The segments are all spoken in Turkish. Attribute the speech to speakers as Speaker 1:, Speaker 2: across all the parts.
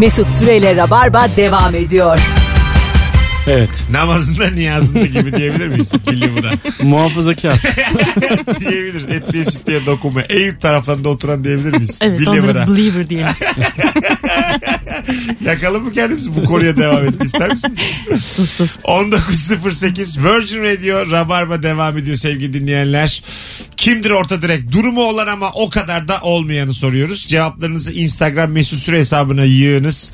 Speaker 1: Mesut Süreyle Rabarba devam ediyor.
Speaker 2: Evet.
Speaker 3: Namazında niyazında gibi diyebilir miyiz? Milli buna.
Speaker 2: Muhafazakar.
Speaker 3: diyebiliriz. Etliye sütlüye dokunma. Eyüp taraflarında oturan diyebilir miyiz?
Speaker 4: Evet
Speaker 3: Deliver'a.
Speaker 4: onlara believer diyelim.
Speaker 3: Yakalım mı kendimizi? Bu konuya devam et. İster misiniz?
Speaker 4: sus sus.
Speaker 3: 19.08 Virgin Radio Rabarba devam ediyor sevgili dinleyenler. Kimdir orta direkt? Durumu olan ama o kadar da olmayanı soruyoruz. Cevaplarınızı Instagram mesut süre hesabına yığınız.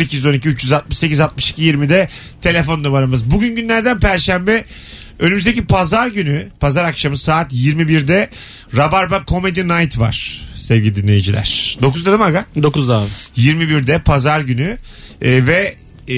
Speaker 3: 0212 368 62 20'de telefon numaramız. Bugün günlerden perşembe. Önümüzdeki pazar günü, pazar akşamı saat 21'de Rabarba Comedy Night var sevgili dinleyiciler. 9'da değil mi aga?
Speaker 2: 9'da abi.
Speaker 3: 21'de pazar günü e, ve e,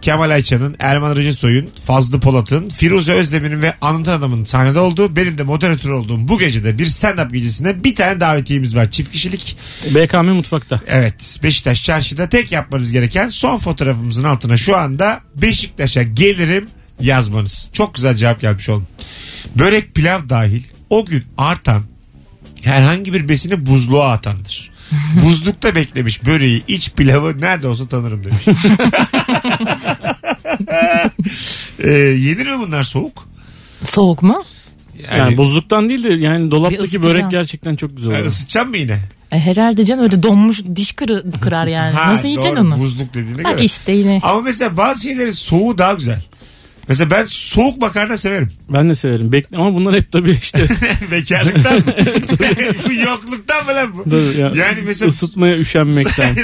Speaker 3: Kemal Ayça'nın, Erman Rıcısoy'un, Fazlı Polat'ın, Firuze Özdemir'in ve Anlatan Adam'ın sahnede olduğu benim de moderatör olduğum bu gecede bir stand-up gecesinde bir tane davetiyemiz var. Çift kişilik.
Speaker 2: BKM mutfakta.
Speaker 3: Evet Beşiktaş çarşıda tek yapmanız gereken son fotoğrafımızın altına şu anda Beşiktaş'a gelirim yazmanız. Çok güzel cevap gelmiş oğlum. Börek pilav dahil o gün artan herhangi bir besini buzluğa atandır. Buzlukta beklemiş böreği, iç pilavı nerede olsa tanırım demiş. ee, yenir mi bunlar soğuk?
Speaker 4: Soğuk mu?
Speaker 3: Yani,
Speaker 2: Yani, buzluktan değil de yani
Speaker 4: Bir
Speaker 2: dolaptaki
Speaker 4: ısıtacağım.
Speaker 2: börek gerçekten çok güzel
Speaker 3: yani
Speaker 2: oluyor.
Speaker 3: ısıtacağım mı yine?
Speaker 4: E, herhalde can öyle donmuş diş kırı, kırar yani.
Speaker 3: Ha,
Speaker 4: Nasıl yiyeceksin
Speaker 3: doğru,
Speaker 4: onu?
Speaker 3: Buzluk dediğine
Speaker 4: Bak
Speaker 3: göre.
Speaker 4: işte yine.
Speaker 3: Ama mesela bazı şeylerin soğuğu daha güzel. Mesela ben soğuk makarna severim.
Speaker 2: Ben de severim. Bekle ama bunlar hep tabii işte
Speaker 3: Bekarlıktan mı? bu yokluktan mı lan bu?
Speaker 2: Tabii ya.
Speaker 3: Yani mesela-
Speaker 2: ısıtmaya üşenmekten.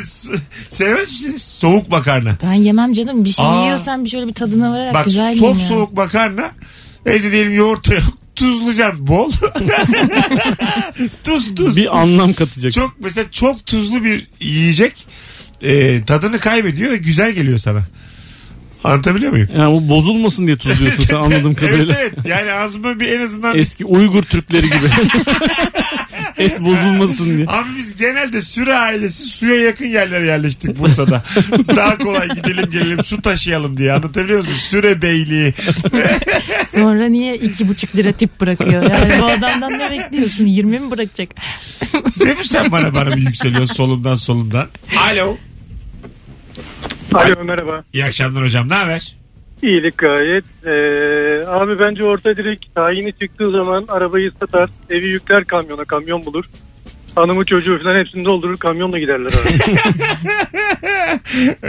Speaker 3: Sevmez misiniz soğuk makarna?
Speaker 4: Ben yemem canım. Bir şey
Speaker 3: Aa.
Speaker 4: yiyorsan bir şöyle bir tadına vararak
Speaker 3: Bak
Speaker 4: güzel
Speaker 3: çok
Speaker 4: yiyeyim ya.
Speaker 3: soğuk makarna. Evde diyelim yoğurt yok. Tuzlucan bol. tuz tuz.
Speaker 2: bir anlam katacak.
Speaker 3: Çok mesela çok tuzlu bir yiyecek e, tadını kaybediyor ve güzel geliyor sana. Anlatabiliyor muyum?
Speaker 2: Yani bu bozulmasın diye tuzluyorsun sen anladığım
Speaker 3: Evet
Speaker 2: kadarıyla.
Speaker 3: evet. Yani ağzıma bir en azından bir
Speaker 2: Eski Uygur Türkleri gibi. Et bozulmasın diye.
Speaker 3: Abi biz genelde Süre ailesi suya yakın yerlere yerleştik Bursa'da. Daha kolay gidelim gelelim su taşıyalım diye anlatabiliyor musun? Süre Beyliği.
Speaker 4: Sonra niye iki buçuk lira tip bırakıyor? Yani bu adamdan ne bekliyorsun? 20 mi bırakacak?
Speaker 3: Ne bu sen bana bana bir yükseliyorsun solumdan solumdan. Alo.
Speaker 5: Alo merhaba.
Speaker 3: İyi akşamlar hocam ne haber?
Speaker 5: İyilik gayet. Ee, abi bence orta direkt tayini çıktığı zaman arabayı satar, evi yükler kamyona, kamyon bulur. Hanımı çocuğu falan hepsini doldurur kamyonla giderler abi.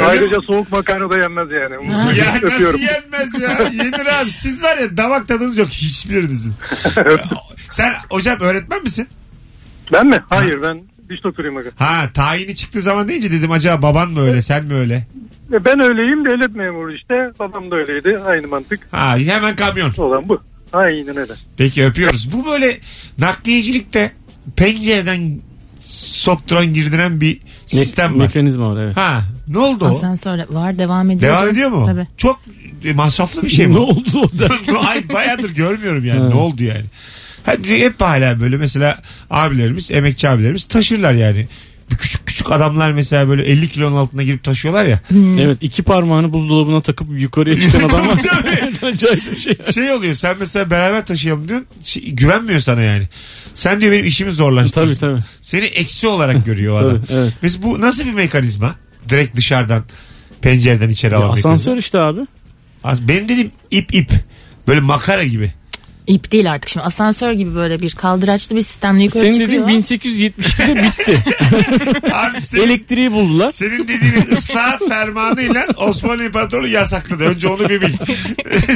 Speaker 5: Ayrıca soğuk makarna da yenmez yani.
Speaker 3: Ya nasıl
Speaker 5: Öpüyorum.
Speaker 3: yenmez ya? Yenir abi. Siz var ya damak tadınız yok hiçbirinizin. Sen hocam öğretmen misin?
Speaker 5: ben mi? Hayır ben diş doktoruyum. aga.
Speaker 3: Ha tayini çıktığı zaman deyince dedim acaba baban mı öyle sen mi öyle?
Speaker 5: E, Ben öyleyim devlet memuru işte. Babam da öyleydi. Aynı mantık
Speaker 3: Ha hemen kamyon.
Speaker 5: olan bu. Aynen öyle.
Speaker 3: Peki öpüyoruz. Bu böyle nakliyecilikte pencereden sokturan girdiren bir
Speaker 2: Me-
Speaker 3: sistem var.
Speaker 2: mekanizma var evet.
Speaker 3: Ha ne oldu o?
Speaker 4: Asansör var devam ediyor.
Speaker 3: Devam ediyor mu?
Speaker 4: Tabii.
Speaker 3: Çok e, masraflı bir şey mi?
Speaker 2: ne oldu o da?
Speaker 3: Ay bayağıdır görmüyorum yani
Speaker 2: Ha.
Speaker 3: ne oldu yani. Hep, hep hala böyle mesela abilerimiz, emekçi abilerimiz taşırlar yani. Bir küçük küçük adamlar mesela böyle 50 kilonun altına girip taşıyorlar ya.
Speaker 2: evet iki parmağını buzdolabına takıp yukarıya çıkan adam var. Acayip bir şey.
Speaker 3: Şey oluyor sen mesela beraber taşıyalım diyorsun şey- güvenmiyor sana yani. Sen diyor benim işimi zorlaştırırsın.
Speaker 2: Tabii tabii.
Speaker 3: Seni eksi olarak görüyor o adam.
Speaker 2: Tabii, evet.
Speaker 3: Biz bu nasıl bir mekanizma? Direkt dışarıdan pencereden içeri
Speaker 2: Ya
Speaker 3: alan mekanizma.
Speaker 2: asansör işte abi.
Speaker 3: As- Benim dediğim ip ip. Böyle makara gibi.
Speaker 4: İp değil artık şimdi. Asansör gibi böyle bir kaldıraçlı bir sistemle yukarı
Speaker 2: Senin
Speaker 4: çıkıyor.
Speaker 2: dediğin 1872'de bitti.
Speaker 3: Abi senin,
Speaker 2: Elektriği buldular.
Speaker 3: senin dediğin ıslahat fermanıyla Osmanlı İmparatorluğu yasakladı. Önce onu bir bil.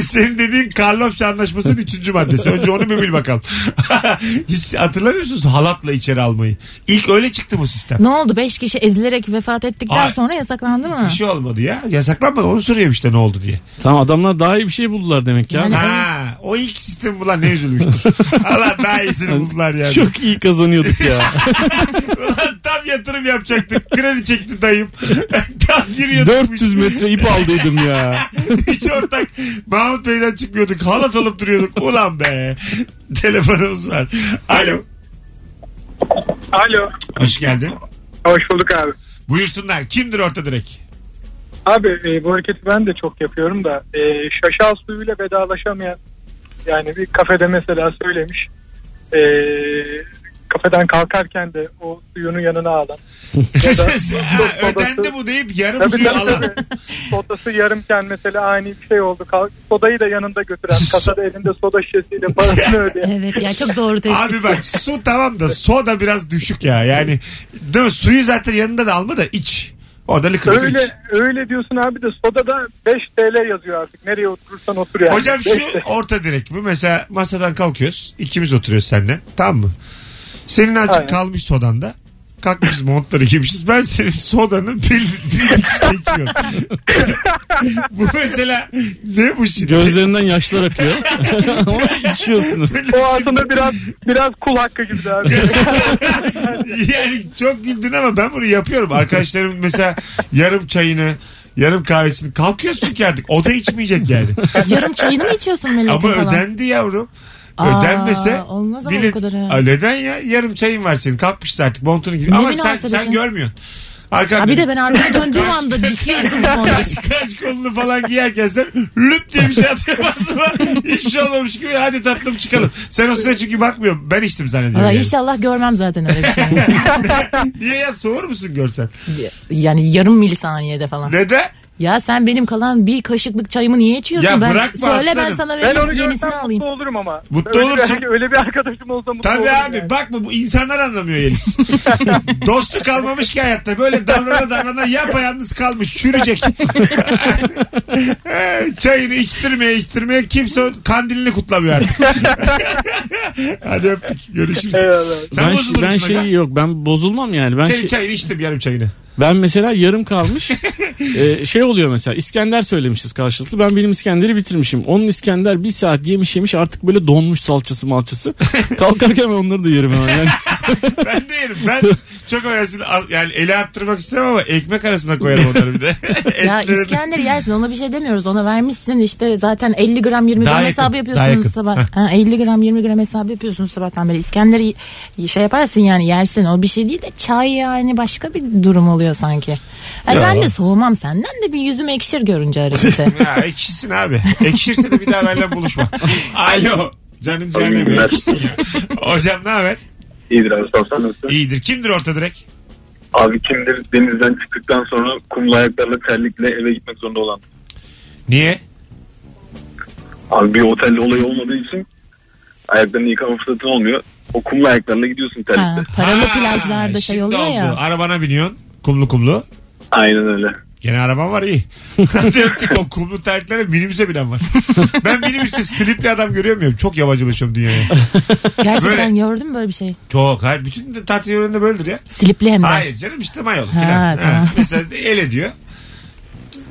Speaker 3: senin dediğin Karlofça Anlaşması'nın 3. maddesi. Önce onu bir bil bakalım. Hiç hatırlamıyor musunuz halatla içeri almayı? İlk öyle çıktı bu sistem.
Speaker 4: Ne oldu? 5 kişi ezilerek vefat ettikten
Speaker 3: Ay.
Speaker 4: sonra yasaklandı mı?
Speaker 3: Bir şey olmadı ya. Yasaklanmadı. Onu soruyorum işte ne oldu diye.
Speaker 2: Tamam adamlar daha iyi bir şey buldular demek ya.
Speaker 4: Yani-
Speaker 3: Ha, o ilk sistem bulan ne üzülmüştür. Allah daha iyisini buldular yani.
Speaker 2: Çok iyi kazanıyorduk ya.
Speaker 3: Ulan tam yatırım yapacaktık. Kredi çekti dayım. tam giriyorduk.
Speaker 2: 400 metre ip aldıydım ya.
Speaker 3: Hiç ortak. Mahmut Bey'den çıkmıyorduk. Halat alıp duruyorduk. Ulan be. Telefonumuz var. Alo.
Speaker 5: Alo.
Speaker 3: Hoş geldin.
Speaker 5: Hoş bulduk abi.
Speaker 3: Buyursunlar. Kimdir orta direk?
Speaker 5: Abi e, bu hareketi ben de çok yapıyorum da e, şaşal suyuyla vedalaşamayan yani bir kafede mesela söylemiş e, kafeden kalkarken de o suyunu yanına alan. ya da
Speaker 3: Ha, Ödendi bu deyip yarım
Speaker 5: Tabii
Speaker 3: suyu
Speaker 5: tabii
Speaker 3: alan.
Speaker 5: tabii. Sodası yarımken mesela ani bir şey oldu. Kalk- Sodayı da yanında götüren. Kasada elinde soda şişesiyle parasını ödeyen.
Speaker 4: Evet ya çok doğru tespit.
Speaker 3: Abi bak su tamam da soda biraz düşük ya. Yani değil mi? suyu zaten yanında da alma da iç. Orada likır likır iç.
Speaker 5: Öyle öyle diyorsun abi de sodada 5 TL yazıyor artık. Nereye oturursan otur yani.
Speaker 3: Hocam
Speaker 5: Beş
Speaker 3: şu orta direk mi? Mesela masadan kalkıyoruz. ikimiz oturuyoruz seninle. Tamam mı? Senin azıcık
Speaker 5: Aynen.
Speaker 3: kalmış sodanda. Kalkmışız montları giymişiz. Ben senin sodanı bir, bir dikişte içiyorum. bu mesela ne bu şimdi?
Speaker 2: Gözlerinden yaşlar akıyor. Ama içiyorsun.
Speaker 5: O aslında biraz biraz kul hakkı gibi de abi.
Speaker 3: yani çok güldün ama ben bunu yapıyorum. Arkadaşlarım mesela yarım çayını yarım kahvesini kalkıyoruz çünkü artık o da içmeyecek yani.
Speaker 4: Yarım çayını mı içiyorsun milletin
Speaker 3: Ama
Speaker 4: falan?
Speaker 3: ödendi yavrum.
Speaker 4: Aa,
Speaker 3: Ödenmese
Speaker 4: olmaz ama o kadar ha.
Speaker 3: Aa, neden ya? Yarım çayın var senin. Kalkmışsın artık montunu gibi.
Speaker 4: Ne
Speaker 3: Ama sen,
Speaker 4: münasebet
Speaker 3: sen
Speaker 4: canım.
Speaker 3: görmüyorsun. Arkan
Speaker 4: Ha bir de ben arkaya döndüğüm anda dikiyorsun sonra.
Speaker 3: Kaç, kaç kolunu falan giyerken sen lüp diye bir şey atıyor basma. Hiç şey olmamış gibi hadi tatlım çıkalım. Sen o sırada çünkü bakmıyorum. Ben içtim zannediyorum.
Speaker 4: Valla
Speaker 3: yani.
Speaker 4: inşallah görmem zaten öyle bir şey.
Speaker 3: Niye ya soğur musun görsen?
Speaker 4: Yani yarım milisaniyede falan.
Speaker 3: Neden?
Speaker 4: Ya sen benim kalan bir kaşıklık çayımı niye içiyorsun?
Speaker 3: Ya
Speaker 4: ben,
Speaker 3: bırakma
Speaker 4: Söyle
Speaker 3: aslanım.
Speaker 4: ben sana
Speaker 5: Ben onu
Speaker 4: vereyim
Speaker 5: görsem
Speaker 4: yenisini alayım.
Speaker 5: mutlu olurum ama.
Speaker 3: Mutlu
Speaker 5: öyle
Speaker 3: olursun.
Speaker 5: Bir, öyle bir arkadaşım olsa mutlu
Speaker 3: Tabii
Speaker 5: olurum.
Speaker 3: abi
Speaker 5: yani.
Speaker 3: bakma bu insanlar anlamıyor Yeliz. Dostu kalmamış ki hayatta. Böyle davrana davrana yapayalnız kalmış. Çürüyecek. Çayını içtirmeye içtirmeye kimse kandilini kutlamıyor artık. Hadi öptük. Görüşürüz.
Speaker 5: Eyvallah.
Speaker 3: Sen
Speaker 2: ben,
Speaker 3: bozulur
Speaker 2: ben
Speaker 3: musun aga?
Speaker 2: şey yok ben bozulmam yani. Ben
Speaker 3: Senin
Speaker 2: şey-
Speaker 3: çayını içtim yarım çayını.
Speaker 2: Ben mesela yarım kalmış Ee, şey oluyor mesela İskender söylemişiz karşılıklı ben benim İskender'i bitirmişim. Onun İskender bir saat yemiş yemiş artık böyle donmuş salçası malçası. Kalkarken ben onları da yerim hemen yani.
Speaker 3: Ben de yerim. Ben çok affedersin al- yani eli arttırmak istemem ama ekmek arasına koyarım onları bir de.
Speaker 4: Ya
Speaker 3: Etlerini-
Speaker 4: İskender yersin ona bir şey demiyoruz. Ona vermişsin işte zaten 50 gram 20
Speaker 3: Daha
Speaker 4: gram
Speaker 3: yakın,
Speaker 4: hesabı
Speaker 3: daha yakın.
Speaker 4: yapıyorsunuz sabah. Ha, 50 gram 20 gram hesabı yapıyorsunuz sabahtan beri. İskender'i y- şey yaparsın yani yersin o bir şey değil de çay yani başka bir durum oluyor sanki. Ha,
Speaker 3: Ya.
Speaker 4: ben de soğumam senden de bir yüzüm ekşir görünce hareketi.
Speaker 3: Ya ekşisin abi. Ekşirse de bir daha benimle buluşma. Alo. Canın cehennemi ekşisin ya. Hocam ne haber?
Speaker 6: İyidir abi sağ ol, sen nasılsın?
Speaker 3: İyidir. Kimdir orta direk?
Speaker 6: Abi kimdir denizden çıktıktan sonra kumlu ayaklarla terlikle eve gitmek zorunda olan.
Speaker 3: Niye?
Speaker 6: Abi bir otelde olay olmadığı için ayaklarını yıkama fırsatın olmuyor. O kumlu ayaklarla gidiyorsun terlikle.
Speaker 4: ha, paralı
Speaker 3: Ha,
Speaker 4: plajlarda şey
Speaker 3: şimdi
Speaker 4: oluyor
Speaker 3: oldu.
Speaker 4: ya.
Speaker 3: Arabana biniyorsun. Kumlu kumlu.
Speaker 6: Aynen öyle.
Speaker 3: Gene araban var iyi. Hadi öptük o kumlu terliklere minibüse bilen var. Ben minibüste slipli adam görüyor muyum? Çok yabancılaşıyorum dünyaya.
Speaker 4: Gerçekten
Speaker 3: Böyle-
Speaker 4: gördün mü böyle bir şey?
Speaker 3: Çok. Hayır. Bütün de tatil yönünde böyledir ya.
Speaker 4: Silipli hem de.
Speaker 3: Hayır canım işte mayolu
Speaker 4: Ha,
Speaker 3: falan. Ha,
Speaker 4: tamam.
Speaker 3: Mesela de el ediyor.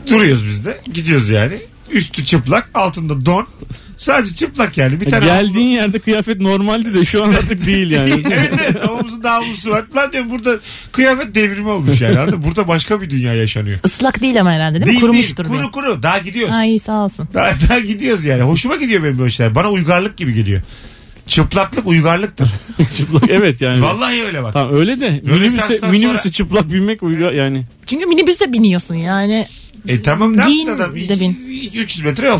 Speaker 3: Duruyoruz biz de. Gidiyoruz yani. Üstü çıplak. Altında don. Sadece çıplak yani.
Speaker 4: E,
Speaker 3: Bir tane
Speaker 2: Geldiğin yerde kıyafet normaldi de şu an artık değil yani.
Speaker 3: evet evet avumuzun da havlusu var. Lan diyorum burada kıyafet devrimi olmuş yani. Anladın mı? Burada başka bir dünya yaşanıyor.
Speaker 4: Islak değil ama herhalde değil mi? Kurumuştur
Speaker 3: Kuru
Speaker 4: bir.
Speaker 3: kuru. Daha gidiyoruz.
Speaker 4: Ay sağ olsun.
Speaker 3: Daha, daha gidiyoruz yani. Hoşuma gidiyor benim böyle şeyler. Bana uygarlık gibi geliyor. Çıplaklık uygarlıktır.
Speaker 2: çıplak evet yani.
Speaker 3: Vallahi öyle bak.
Speaker 2: Tamam öyle de minibüse,
Speaker 3: Rönesans'tan
Speaker 2: minibüse
Speaker 3: sonra-
Speaker 2: çıplak binmek uygar yani.
Speaker 4: Çünkü minibüse biniyorsun yani.
Speaker 3: E tamam ne yapsın
Speaker 4: Bin
Speaker 3: adam? İki-
Speaker 4: de bin.
Speaker 3: iki- 300 metre yol.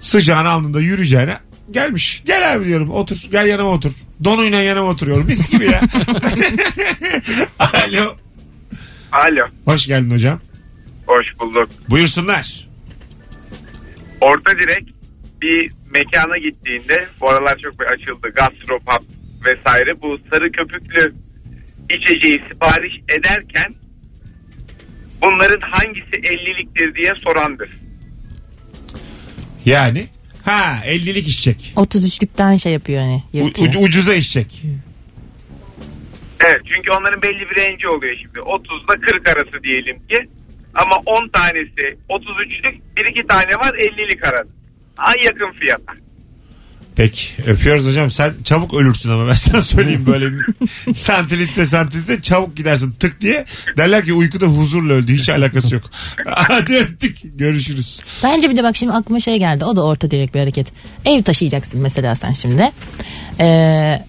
Speaker 3: Sıcağına alnında yürüyeceğine gelmiş. Gel abi diyorum otur. Gel yanıma otur. Donuyla yanıma oturuyorum. Mis gibi ya. Alo.
Speaker 7: Alo.
Speaker 3: Hoş geldin hocam.
Speaker 7: Hoş bulduk.
Speaker 3: Buyursunlar.
Speaker 7: Orta direkt bir mekana gittiğinde bu aralar çok bir açıldı. Gastropub vesaire. Bu sarı köpüklü içeceği sipariş ederken bunların hangisi 50'liktir diye sorandır.
Speaker 3: Yani. Ha 50'lik içecek.
Speaker 4: 33'lükten şey yapıyor hani.
Speaker 3: U-
Speaker 4: yırtıyor.
Speaker 3: u- ucuza içecek.
Speaker 7: Evet çünkü onların belli bir rengi oluyor şimdi. 30 ile 40 arası diyelim ki. Ama 10 tanesi 33'lük, 1-2 tane var 50'lik arası. Ay yakın fiyat.
Speaker 3: Peki öpüyoruz hocam. Sen çabuk ölürsün ama ben sana söyleyeyim böyle bir- santilitre santilitre çabuk gidersin tık diye. Derler ki uykuda huzurla öldü. Hiç alakası yok. Hadi öptük. Görüşürüz.
Speaker 4: Bence bir de bak şimdi aklıma şey geldi. O da orta direkt bir hareket. Ev taşıyacaksın mesela sen şimdi. Ee,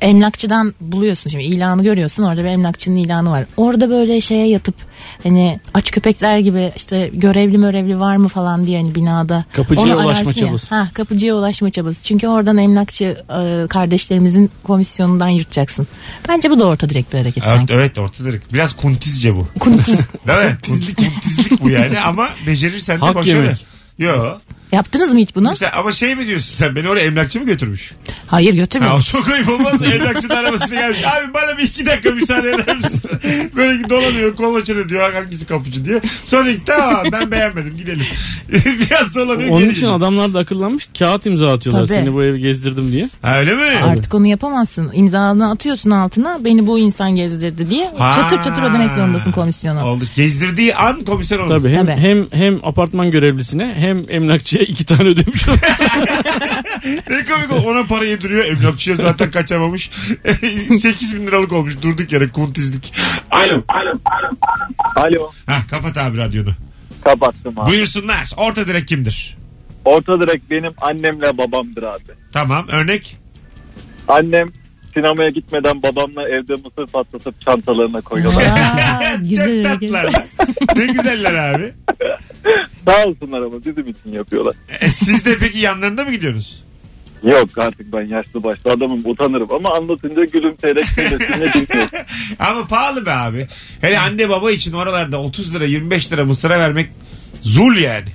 Speaker 4: emlakçıdan buluyorsun şimdi ilanı görüyorsun orada bir emlakçının ilanı var. Orada böyle şeye yatıp hani aç köpekler gibi işte görevli mörevli var mı falan diye hani binada.
Speaker 2: Kapıcıya ulaşma
Speaker 4: ararsın ya.
Speaker 2: çabası.
Speaker 4: Ha, kapıcıya ulaşma çabası. Çünkü oradan emlakçı e, kardeşlerimizin komisyonundan yırtacaksın. Bence bu da orta direkt bir hareket
Speaker 3: Evet,
Speaker 4: sanki.
Speaker 3: evet orta direkt. Biraz kuntizce bu.
Speaker 4: Kuntiz.
Speaker 3: Değil mi? Kuntizlik, kuntizlik bu yani ama becerirsen de
Speaker 2: Hak
Speaker 3: başarı.
Speaker 2: yemek.
Speaker 3: Yo.
Speaker 4: Yaptınız mı hiç bunu?
Speaker 3: Sen- ama şey mi diyorsun sen beni oraya emlakçı mı götürmüş?
Speaker 4: Hayır götürmedim.
Speaker 3: Ha, o çok ayıp olmaz mı? Emlakçının arabasına gelmiş. Abi bana bir iki dakika müsaade eder misin? Böyle dolanıyor kolaçını diyor hangisi kapıcı diye. Sonra ilk, tamam ben beğenmedim gidelim. Biraz dolanıyor.
Speaker 2: Onun
Speaker 3: geri
Speaker 2: için
Speaker 3: gidiyor.
Speaker 2: adamlar da akıllanmış kağıt imza atıyorlar
Speaker 4: Tabii.
Speaker 2: seni bu evi gezdirdim diye.
Speaker 3: Ha, öyle mi?
Speaker 4: Artık onu yapamazsın. İmzanı atıyorsun altına beni bu insan gezdirdi diye
Speaker 3: Ha.
Speaker 4: çatır çatır ödemek zorundasın komisyonu.
Speaker 3: Oldu. Gezdirdiği an komiser oldu.
Speaker 2: Tabii hem,
Speaker 4: Tabii.
Speaker 2: hem hem apartman görevlisine hem emlakçıya iki tane ödemiş oluyor.
Speaker 3: Ne komik o. ona para yediriyor. Emlakçıya zaten kaçamamış. 8 bin liralık olmuş durduk yere kuntizlik. Alo.
Speaker 8: Alo.
Speaker 3: Hah kapat abi radyonu.
Speaker 8: Kapattım abi.
Speaker 3: Buyursunlar. Orta direk kimdir?
Speaker 8: Orta direkt benim annemle babamdır abi.
Speaker 3: Tamam örnek.
Speaker 8: Annem sinemaya gitmeden babamla evde mısır patlatıp çantalarına koyuyorlar.
Speaker 4: Aa,
Speaker 3: Çok
Speaker 4: güzel hareket.
Speaker 3: tatlılar. ne güzeller abi.
Speaker 8: Sağ olsunlar ama bizim için yapıyorlar.
Speaker 3: E, siz de peki yanlarında mı gidiyorsunuz?
Speaker 8: Yok artık ben yaşlı başlı adamım utanırım ama anlatınca gülümseyerek söylesinle dinliyorum.
Speaker 3: Ama pahalı be abi. Hele anne baba için oralarda 30 lira 25 lira mısıra vermek zul yani.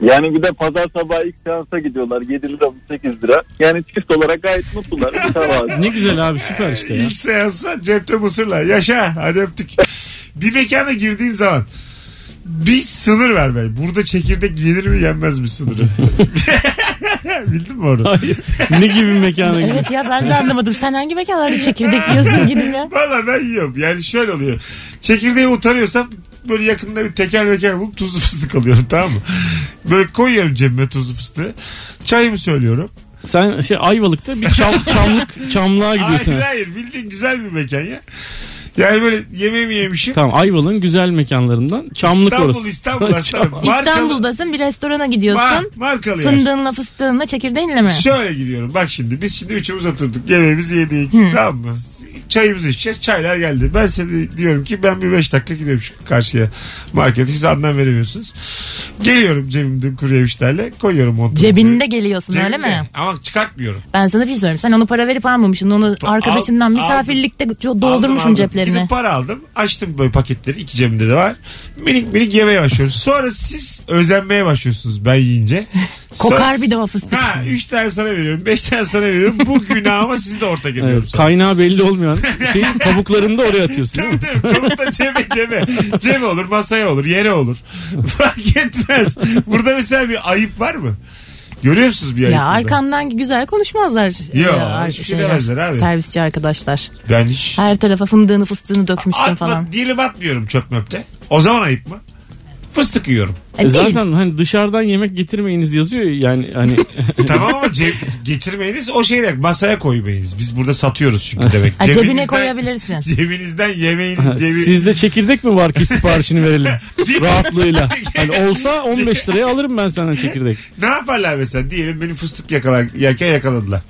Speaker 8: Yani bir de pazar sabahı ilk seansa gidiyorlar 7 lira 8 lira. Yani çift olarak gayet mutlular. Bir sabah.
Speaker 2: ne güzel abi süper işte ya.
Speaker 3: İlk seansa cepte mısırla. Yaşa hadi öptük. bir mekana girdiğin zaman bir sınır ver be. Burada çekirdek yenir mi yenmez mi sınırı? Bildin mi onu?
Speaker 2: Hayır. ne gibi bir mekana gidiyor.
Speaker 4: Evet ya ben de anlamadım. Sen hangi mekanlarda çekirdek yiyorsun gidin ya?
Speaker 3: Valla ben yiyorum. Yani şöyle oluyor. Çekirdeği utanıyorsam böyle yakında bir teker meker bulup tuzlu fıstık alıyorum tamam mı? Böyle koyuyorum cebime tuzlu fıstığı. Çayımı söylüyorum.
Speaker 2: Sen şey Ayvalık'ta bir çam- çamlık çamlığa gidiyorsun.
Speaker 3: Hayır hayır bildiğin güzel bir mekan ya. Yani böyle yemeğimi yemişim.
Speaker 2: Tamam Ayvalık'ın güzel mekanlarından çamlık
Speaker 3: İstanbul,
Speaker 2: orası.
Speaker 3: İstanbul aslanım. Markalı-
Speaker 4: İstanbul'dasın bir restorana gidiyorsun.
Speaker 3: Mar- markalı yer.
Speaker 4: Fındığınla fıstığınla çekirdeğinle mi?
Speaker 3: Şöyle gidiyorum bak şimdi biz şimdi üçümüz oturduk yemeğimizi yedik tamam mı? Çayımızı içeceğiz çaylar geldi. Ben size diyorum ki ben bir beş dakika gidiyorum şu karşıya markete siz anlam veremiyorsunuz. Geliyorum cebimde kuru yemişlerle koyuyorum montumu.
Speaker 4: Cebinde geliyorsun
Speaker 3: Cebimde.
Speaker 4: öyle mi?
Speaker 3: Ama çıkartmıyorum.
Speaker 4: Ben sana bir şey söyleyeyim. Sen onu para verip almamışsın. Onu arkadaşından
Speaker 3: aldım.
Speaker 4: misafirlikte ço-
Speaker 3: Aldım,
Speaker 4: doldurmuşsun
Speaker 3: aldım.
Speaker 4: ceplerine.
Speaker 3: Gidip para aldım. Açtım böyle paketleri. iki cebimde de var. Minik minik yemeye başlıyoruz. Sonra siz özenmeye başlıyorsunuz ben yiyince.
Speaker 4: Kokar
Speaker 3: Sonra-
Speaker 4: bir de o fıstık.
Speaker 3: Ha, üç tane sana veriyorum. Beş tane sana veriyorum. Bu günahıma siz de ortak ediyorum.
Speaker 2: Evet, kaynağı belli olmayan şeyin kabuklarını da oraya atıyorsun değil mi?
Speaker 3: Tabii tabii. Kabukta cebe cebe. Cebe olur, masaya olur, yere olur. Fark etmez. Burada mesela bir ayıp var mı? Görüyor musunuz bir ayıp?
Speaker 4: Ya
Speaker 3: burada?
Speaker 4: arkandan güzel konuşmazlar.
Speaker 3: Yo,
Speaker 4: Ya, ar-
Speaker 3: hiçbir şey demezler abi.
Speaker 4: Servisçi arkadaşlar.
Speaker 3: Ben hiç...
Speaker 4: Her tarafa fındığını fıstığını dökmüşsün
Speaker 3: Atma,
Speaker 4: falan.
Speaker 3: diyelim atmıyorum çöp möpte. O zaman ayıp mı? Fıstık yiyorum.
Speaker 4: E, değil.
Speaker 2: Zaten hani dışarıdan yemek getirmeyiniz yazıyor ya, yani hani
Speaker 3: E, tamam ama ceb- getirmeyiniz o şeyler masaya koymayınız. Biz burada satıyoruz çünkü demek.
Speaker 4: Ha,
Speaker 3: Cebinizden-
Speaker 4: cebine koyabilirsin.
Speaker 3: Cebinizden yemeğiniz cebi...
Speaker 2: sizde çekirdek mi var ki siparişini verelim
Speaker 3: Değil mi?
Speaker 2: rahatlığıyla. Hani olsa 15 liraya alırım ben senden çekirdek.
Speaker 3: Ne yaparlar mesela? Diyelim beni fıstık yakalar, yerken yakaladılar.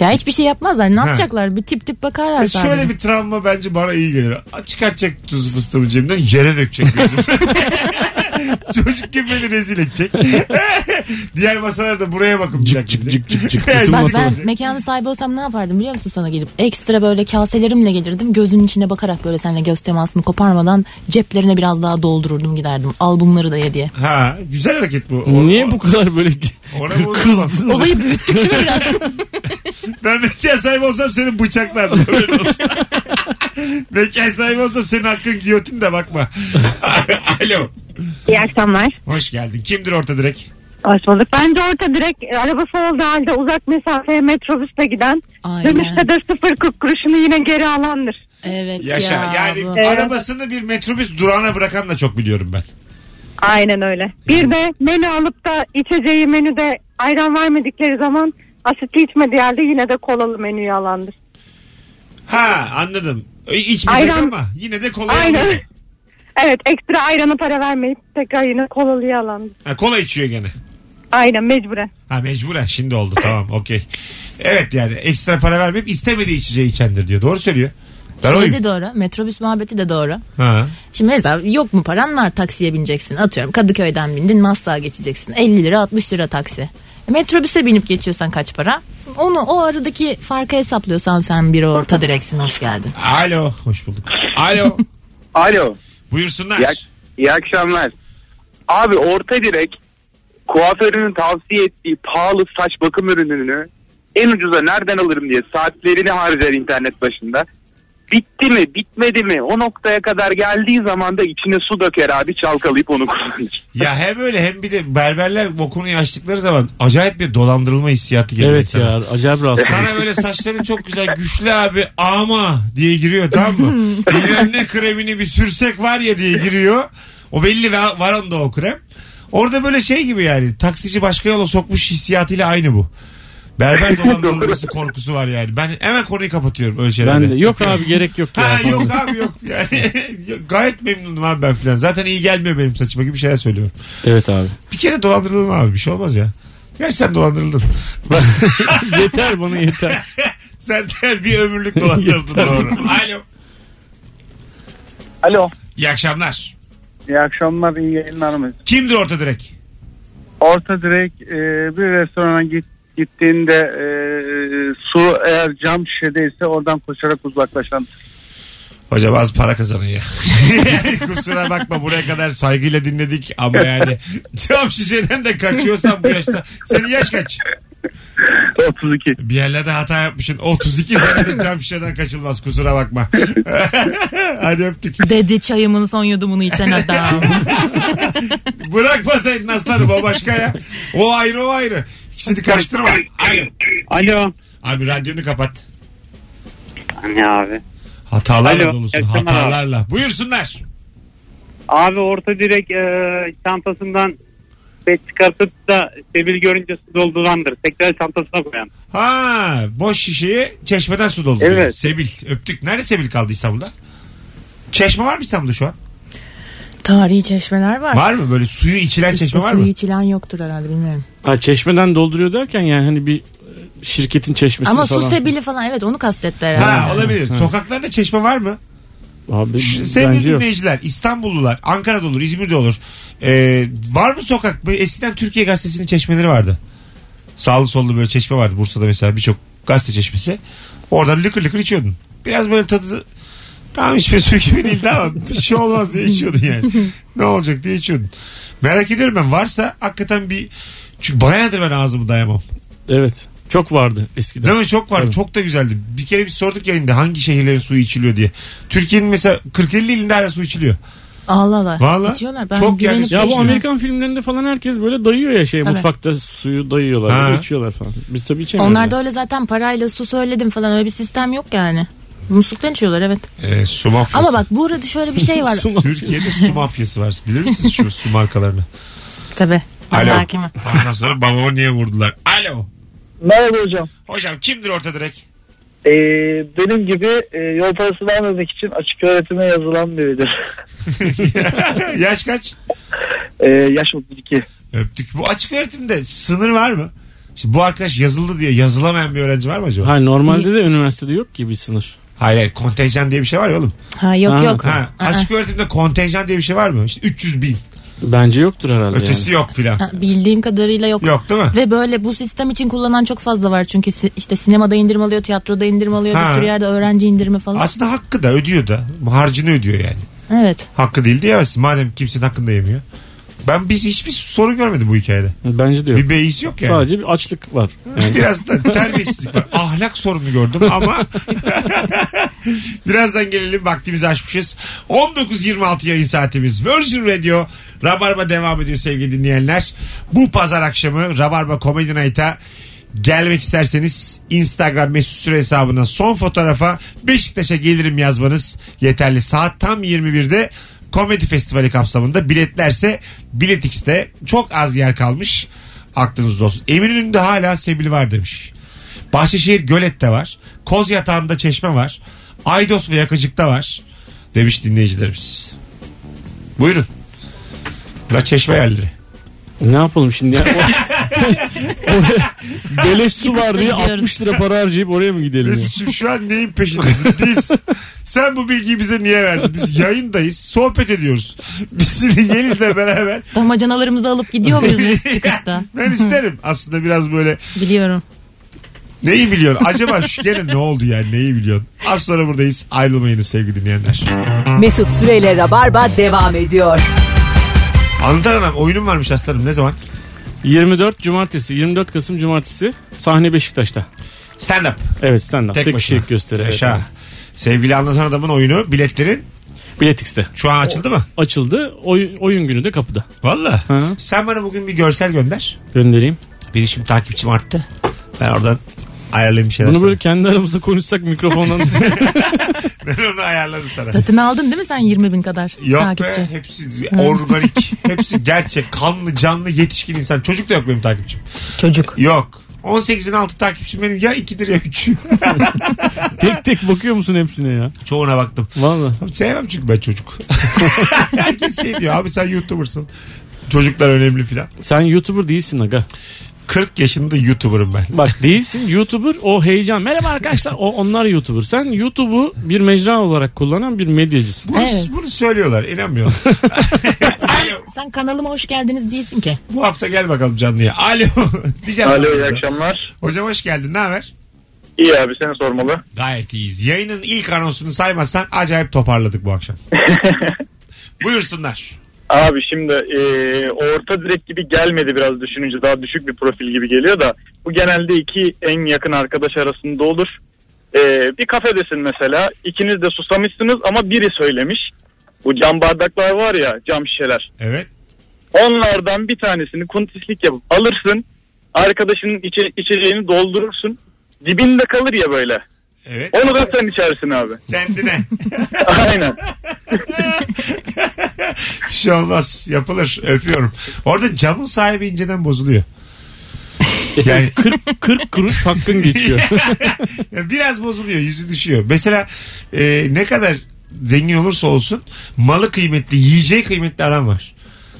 Speaker 4: Ya hiçbir şey yapmazlar. Ne
Speaker 3: Ha.
Speaker 4: yapacaklar? Bir tip tip bakarlar
Speaker 3: Biz
Speaker 4: sadece.
Speaker 3: E, şöyle bir travma bence bana iyi gelir. Çıkartacak tuzlu fıstığımı cebimden yere dökecek. gözüm. Çocuk gibi beni rezil edecek. Diğer masalarda buraya bakın. Cık cık cık cık cık.
Speaker 4: Bak ben mekanın sahibi olsam ne yapardım biliyor musun sana gelip? Ekstra böyle kaselerimle gelirdim. Gözünün içine bakarak böyle seninle göz temasını koparmadan ceplerine biraz daha doldururdum giderdim. Al bunları da ye diye.
Speaker 3: Ha güzel hareket bu. O-
Speaker 2: Niye
Speaker 3: o-
Speaker 2: bu kadar böyle
Speaker 3: Ona bu-
Speaker 2: kızdın?
Speaker 4: Olayı büyüttük değil mi biraz?
Speaker 3: Ben mekan sahibi olsam seni bıçaklardım. Haberin olsun. mekan sahibi olsam senin hakkın giyotin de bakma. Alo.
Speaker 9: İyi akşamlar.
Speaker 3: Hoş geldin. Kimdir orta direk?
Speaker 9: Hoş bulduk. Bence orta direkt e, arabası olduğu halde uzak mesafeye metrobüsle giden
Speaker 4: Aynen.
Speaker 9: dönüşte de sıfır kırk kuruşunu yine geri alandır.
Speaker 4: Evet
Speaker 3: Yaşa.
Speaker 4: ya.
Speaker 3: yani
Speaker 4: bu-
Speaker 3: arabasını bir metrobüs durağına bırakan da çok biliyorum ben.
Speaker 9: Aynen öyle. Bir de menü alıp da içeceği menüde ayran vermedikleri zaman asitli içmediği halde yine de kolalı menüyü alandır.
Speaker 3: Ha anladım. E, İçmeyecek
Speaker 9: Ayran-
Speaker 3: ama yine de kola
Speaker 9: Aynen.
Speaker 3: içiyor.
Speaker 9: evet ekstra ayrana para vermeyip tekrar yine kolalıya alandır.
Speaker 3: Ha, kola içiyor gene.
Speaker 9: Aynen mecburen.
Speaker 3: Ha mecburen şimdi oldu tamam okey. Evet yani ekstra para vermeyip istemediği içeceği içendir diyor. Doğru söylüyor. Ben
Speaker 4: Şey
Speaker 3: oyum.
Speaker 4: de doğru. Metrobüs muhabbeti de doğru.
Speaker 3: Ha.
Speaker 4: Şimdi mesela yok mu paran var taksiye bineceksin. Atıyorum Kadıköy'den bindin Maslak'a geçeceksin. 50 lira 60 lira taksi. E, Metrobüse binip geçiyorsan kaç para? Onu o aradaki farkı hesaplıyorsan sen bir orta direksin hoş geldin.
Speaker 3: Alo. Hoş bulduk. Alo.
Speaker 10: Alo.
Speaker 3: Buyursunlar.
Speaker 10: İyi, ak- iyi akşamlar. Abi orta direk kuaförünün tavsiye ettiği pahalı saç bakım ürününü en ucuza nereden alırım diye saatlerini harcar internet başında. Bitti mi bitmedi mi o noktaya kadar geldiği zaman da içine su döker abi çalkalayıp onu kullanır.
Speaker 3: Ya hem öyle hem bir de berberler bokunu açtıkları zaman acayip bir dolandırılma hissiyatı geliyor.
Speaker 2: Evet
Speaker 3: insana.
Speaker 2: ya acayip rahatsız.
Speaker 3: Sana böyle saçların çok güzel güçlü abi ama diye giriyor tamam mı? Bilmem ne kremini bir sürsek var ya diye giriyor. O belli ve var onda o krem. Orada böyle şey gibi yani taksici başka yola sokmuş hissiyatıyla aynı bu. Berber dolandırılması korkusu var yani. Ben hemen konuyu kapatıyorum öyle şeylerde.
Speaker 2: ben de yok abi gerek yok ya.
Speaker 3: Ha yok abi yok yani. Yok, Gayet memnunum abi ben filan. Zaten iyi gelmiyor benim saçıma gibi şeyler söylüyorum.
Speaker 2: Evet abi.
Speaker 3: Bir kere dolandırıldım abi bir şey olmaz ya. Gerçi sen dolandırıldın.
Speaker 2: yeter bana yeter.
Speaker 3: sen de bir ömürlük dolandırıldın doğru. Alo.
Speaker 11: Alo.
Speaker 3: İyi akşamlar.
Speaker 11: İyi akşamlar, iyi yayınlar mı?
Speaker 3: Kimdir orta direk?
Speaker 11: Orta direkt e, bir restorana git, gittiğinde e, su eğer cam şişedeyse oradan koşarak uzaklaşan.
Speaker 3: Hocam az para kazanıyor. Kusura bakma buraya kadar saygıyla dinledik ama yani cam şişeden de kaçıyorsan bu yaşta. Senin yaş kaç?
Speaker 11: 32.
Speaker 3: Bir yerlerde hata yapmışsın. 32 senede cam şişeden kaçılmaz kusura bakma. Hadi öptük.
Speaker 4: Dedi çayımın son yudumunu içen adam.
Speaker 3: Bırakmasaydın aslanım o başka ya. O ayrı o ayrı. İkisini karıştırma. Alo.
Speaker 11: Alo.
Speaker 3: Abi radyonu kapat.
Speaker 11: Ne abi?
Speaker 3: Hatalarla
Speaker 11: Alo,
Speaker 3: dolusun
Speaker 11: Ertem abi.
Speaker 3: hatalarla. Buyursunlar.
Speaker 11: Abi orta direkt e, çantasından ve çıkartıp da sebil görünce su doldurandır. Tekrar çantasına koyan.
Speaker 3: Ha boş şişeyi çeşmeden su dolduruyor.
Speaker 11: Evet.
Speaker 3: Sebil öptük. Nerede Sebil kaldı İstanbul'da? Çeşme var mı İstanbul'da şu an?
Speaker 4: Tarihi çeşmeler var.
Speaker 3: Var mı böyle suyu içilen
Speaker 4: İşte
Speaker 3: çeşme var
Speaker 4: suyu
Speaker 3: mı?
Speaker 4: içilen yoktur herhalde bilmiyorum.
Speaker 2: Ha çeşmeden dolduruyor derken yani hani bir e, şirketin çeşmesi
Speaker 4: Ama
Speaker 2: falan.
Speaker 4: su sebili falan evet onu kastetti herhalde.
Speaker 3: Ha olabilir. Sokaklarda çeşme var mı?
Speaker 2: Abi
Speaker 3: Şu-
Speaker 2: bence
Speaker 3: Sevgili
Speaker 2: yok.
Speaker 3: dinleyiciler, İstanbullular, Ankara'da olur, İzmir'de olur. Ee, var mı sokak? Böyle eskiden Türkiye Gazetesi'nin çeşmeleri vardı. Sağlı sollu böyle çeşme vardı Bursa'da mesela birçok gazete çeşmesi. Oradan lıkır lıkır içiyordun. Biraz böyle tadı Tamam hiçbir su gibi değildi ama bir şey olmaz diye içiyordun yani. ne olacak diye içiyordun. Merak ediyorum ben varsa hakikaten bir çünkü bayağıdır ben ağzımı dayamam.
Speaker 2: Evet. Çok vardı eskiden.
Speaker 3: Değil mi? Çok vardı.
Speaker 2: Tabii.
Speaker 3: Çok da güzeldi. Bir kere biz sorduk yayında hangi şehirlerin suyu içiliyor diye. Türkiye'nin mesela 40-50 ilinde hala su içiliyor.
Speaker 4: Allah Allah.
Speaker 3: Valla.
Speaker 4: İçiyorlar. Ben
Speaker 3: Çok
Speaker 4: güvenip
Speaker 3: yani-
Speaker 2: Ya bu
Speaker 4: geçtim.
Speaker 2: Amerikan filmlerinde falan herkes böyle dayıyor ya şey
Speaker 4: Şey Tabii.
Speaker 2: mutfakta suyu dayıyorlar,
Speaker 3: Ha.
Speaker 2: böyle içiyorlar falan. Biz tabii içemiyoruz.
Speaker 4: Onlar da
Speaker 2: yani.
Speaker 4: öyle zaten parayla su söyledim falan öyle bir sistem yok yani. Musluktan içiyorlar evet.
Speaker 3: Ee, su mafyası.
Speaker 4: Ama bak burada şöyle bir şey var.
Speaker 2: Su mu?
Speaker 3: Türkiye'de su mafyası var. Bilir misiniz şu su markalarını?
Speaker 4: Tabii.
Speaker 3: Alo.
Speaker 4: Allah hakimi.
Speaker 3: Ondan sonra babamı niye vurdular? Alo.
Speaker 11: Merhaba hocam.
Speaker 3: Hocam kimdir orta direk?
Speaker 11: Ee, benim gibi e, yol parası vermemek için açık öğretime yazılan biridir.
Speaker 3: Yaş kaç?
Speaker 11: Ee, yaş 32.
Speaker 3: Öptük. Bu açık öğretimde sınır var mı? Şimdi bu arkadaş yazıldı diye yazılamayan bir öğrenci var mı acaba?
Speaker 2: Hayır normalde de üniversitede yok ki bir sınır.
Speaker 3: Hayır hayır kontenjan diye bir şey var ya oğlum.
Speaker 4: Ha yok
Speaker 2: Ha.
Speaker 4: yok.
Speaker 3: Ha, açık öğretimde kontenjan diye bir şey var mı? İşte 300 bin.
Speaker 2: Bence yoktur herhalde
Speaker 3: Ötesi yok filan.
Speaker 4: Ha, Bildiğim kadarıyla yok.
Speaker 3: Yok değil mi?
Speaker 4: Ve böyle bu sistem için kullanan çok fazla var. Çünkü si- işte sinemada indirim alıyor, tiyatroda indirim alıyor,
Speaker 3: Ha.
Speaker 4: bir sürü yerde öğrenci indirimi falan.
Speaker 3: Aslında hakkı da ödüyor da. Harcını ödüyor yani.
Speaker 4: evet.
Speaker 3: Hakkı değil diyemezsin. Madem kimsenin hakkını da yemiyor. Ben biz hiçbir sorun görmedim bu hikayede.
Speaker 2: yani. Bence de yok.
Speaker 3: Bir beis yok yani.
Speaker 2: Sadece bir açlık var. Yani
Speaker 3: Biraz da terbiyesizlik var. Ahlak sorunu gördüm ama birazdan gelelim vaktimizi aşmışız. 19.26 yayın saatimiz Virgin Radio. Rabarba devam ediyor sevgili dinleyenler. Bu pazar akşamı Rabarba Comedy Night'a gelmek isterseniz Instagram mesut süre hesabına son fotoğrafa Beşiktaş'a gelirim yazmanız yeterli. Saat tam 21'de Komedi Festivali kapsamında biletlerse Bilet X'te çok az yer kalmış. Aklınızda olsun. Eminönü'nde hala Sebil var demiş. Bahçeşehir Gölet'te var. Koz Yatağı'nda Çeşme var. Aydos ve Yakacık'ta var. Demiş dinleyicilerimiz. Buyurun. La çeşme yerleri.
Speaker 2: ne yapalım şimdi? ya? O- Beleş su var diye 60 lira para harcayıp oraya mı gidelim? ya?
Speaker 3: Mesut'cum şu an neyin peşindesin? Biz, sen bu bilgiyi bize niye verdin? Biz yayındayız, sohbet ediyoruz. Biz seni Yeliz'le beraber...
Speaker 4: Damacanalarımızı alıp gidiyor muyuz biz çıkışta?
Speaker 3: ben isterim aslında biraz böyle...
Speaker 4: Biliyorum.
Speaker 3: Neyi biliyorsun? Acaba şu gene ne oldu yani? Neyi biliyorsun? Az sonra buradayız. Ayrılmayınız sevgili dinleyenler.
Speaker 1: Mesut Süreyle Rabarba devam ediyor.
Speaker 3: Anlatan Adam oyunum varmış aslanım. Ne zaman?
Speaker 2: 24 Cumartesi, 24 Kasım Cumartesi sahne Beşiktaş'ta.
Speaker 3: Stand up.
Speaker 2: Evet stand up. Tek,
Speaker 3: başına.
Speaker 2: kişilik gösteri. evet.
Speaker 3: Yaşa. Sevgili Anlatan Adam'ın oyunu biletlerin
Speaker 2: Biletix'te.
Speaker 3: şu an açıldı mı?
Speaker 2: Açıldı. Oy- oyun günü de kapıda.
Speaker 3: Valla.
Speaker 2: Hı.
Speaker 3: Sen bana bugün bir görsel gönder.
Speaker 2: Göndereyim.
Speaker 3: Benim şimdi takipçim arttı. Ben oradan ayarlayayım bir şeyler.
Speaker 2: Bunu böyle kendi aramızda konuşsak mikrofondan.
Speaker 3: sana. Ben onu ayarlarım sana.
Speaker 4: Satın aldın değil mi sen 20 bin kadar
Speaker 3: Yok
Speaker 4: takipçi?
Speaker 3: be hepsi organik. hepsi gerçek. Kanlı, canlı, yetişkin insan. Çocuk da yok benim takipçim.
Speaker 4: Çocuk.
Speaker 3: Yok. 18'in altı takipçim benim ya 2'dir ya 3'ü.
Speaker 2: tek tek bakıyor musun hepsine ya?
Speaker 3: Çoğuna baktım.
Speaker 2: Valla.
Speaker 3: Abi sevmem çünkü ben çocuk. Herkes şey diyor abi sen YouTuber'sın. Çocuklar önemli filan.
Speaker 2: Sen YouTuber değilsin aga.
Speaker 3: 40 yaşında YouTuber'ım ben.
Speaker 2: Bak değilsin YouTuber o heyecan. Merhaba arkadaşlar o onlar YouTuber. Sen YouTube'u bir mecra olarak kullanan bir medyacısın.
Speaker 3: Bunu,
Speaker 4: Evet.
Speaker 3: bunu söylüyorlar inanmıyorum. Alo.
Speaker 4: Sen kanalıma hoş geldiniz değilsin ki.
Speaker 3: Bu hafta gel bakalım canlıya. Alo. Diyeceğim
Speaker 8: Alo iyi
Speaker 3: sana.
Speaker 8: akşamlar.
Speaker 3: Hocam hoş geldin ne haber?
Speaker 8: İyi abi seni sormalı.
Speaker 3: Gayet iyiyiz. Yayının ilk anonsunu saymazsan acayip toparladık bu akşam. Buyursunlar.
Speaker 8: Abi şimdi e, orta direk gibi gelmedi biraz düşününce daha düşük bir profil gibi geliyor da bu genelde iki en yakın arkadaş arasında olur. E, bir kafedesin mesela ikiniz de susamışsınız ama biri söylemiş. Bu cam bardaklar var ya cam şişeler.
Speaker 3: Evet.
Speaker 8: Onlardan bir tanesini kuntislik yapıp alırsın arkadaşının içe- içeceğini doldurursun dibinde kalır ya böyle.
Speaker 3: Evet.
Speaker 8: Onu da sen içersin abi.
Speaker 3: Kendine.
Speaker 8: Aynen.
Speaker 3: Bir şey olmaz. Yapılır. Öpüyorum. Orada camın sahibi inceden bozuluyor. Yani
Speaker 2: 40 40 kuruş hakkın geçiyor.
Speaker 3: Ya biraz bozuluyor yüzü düşüyor. Mesela e, ne kadar zengin olursa olsun malı kıymetli yiyeceği kıymetli adam var.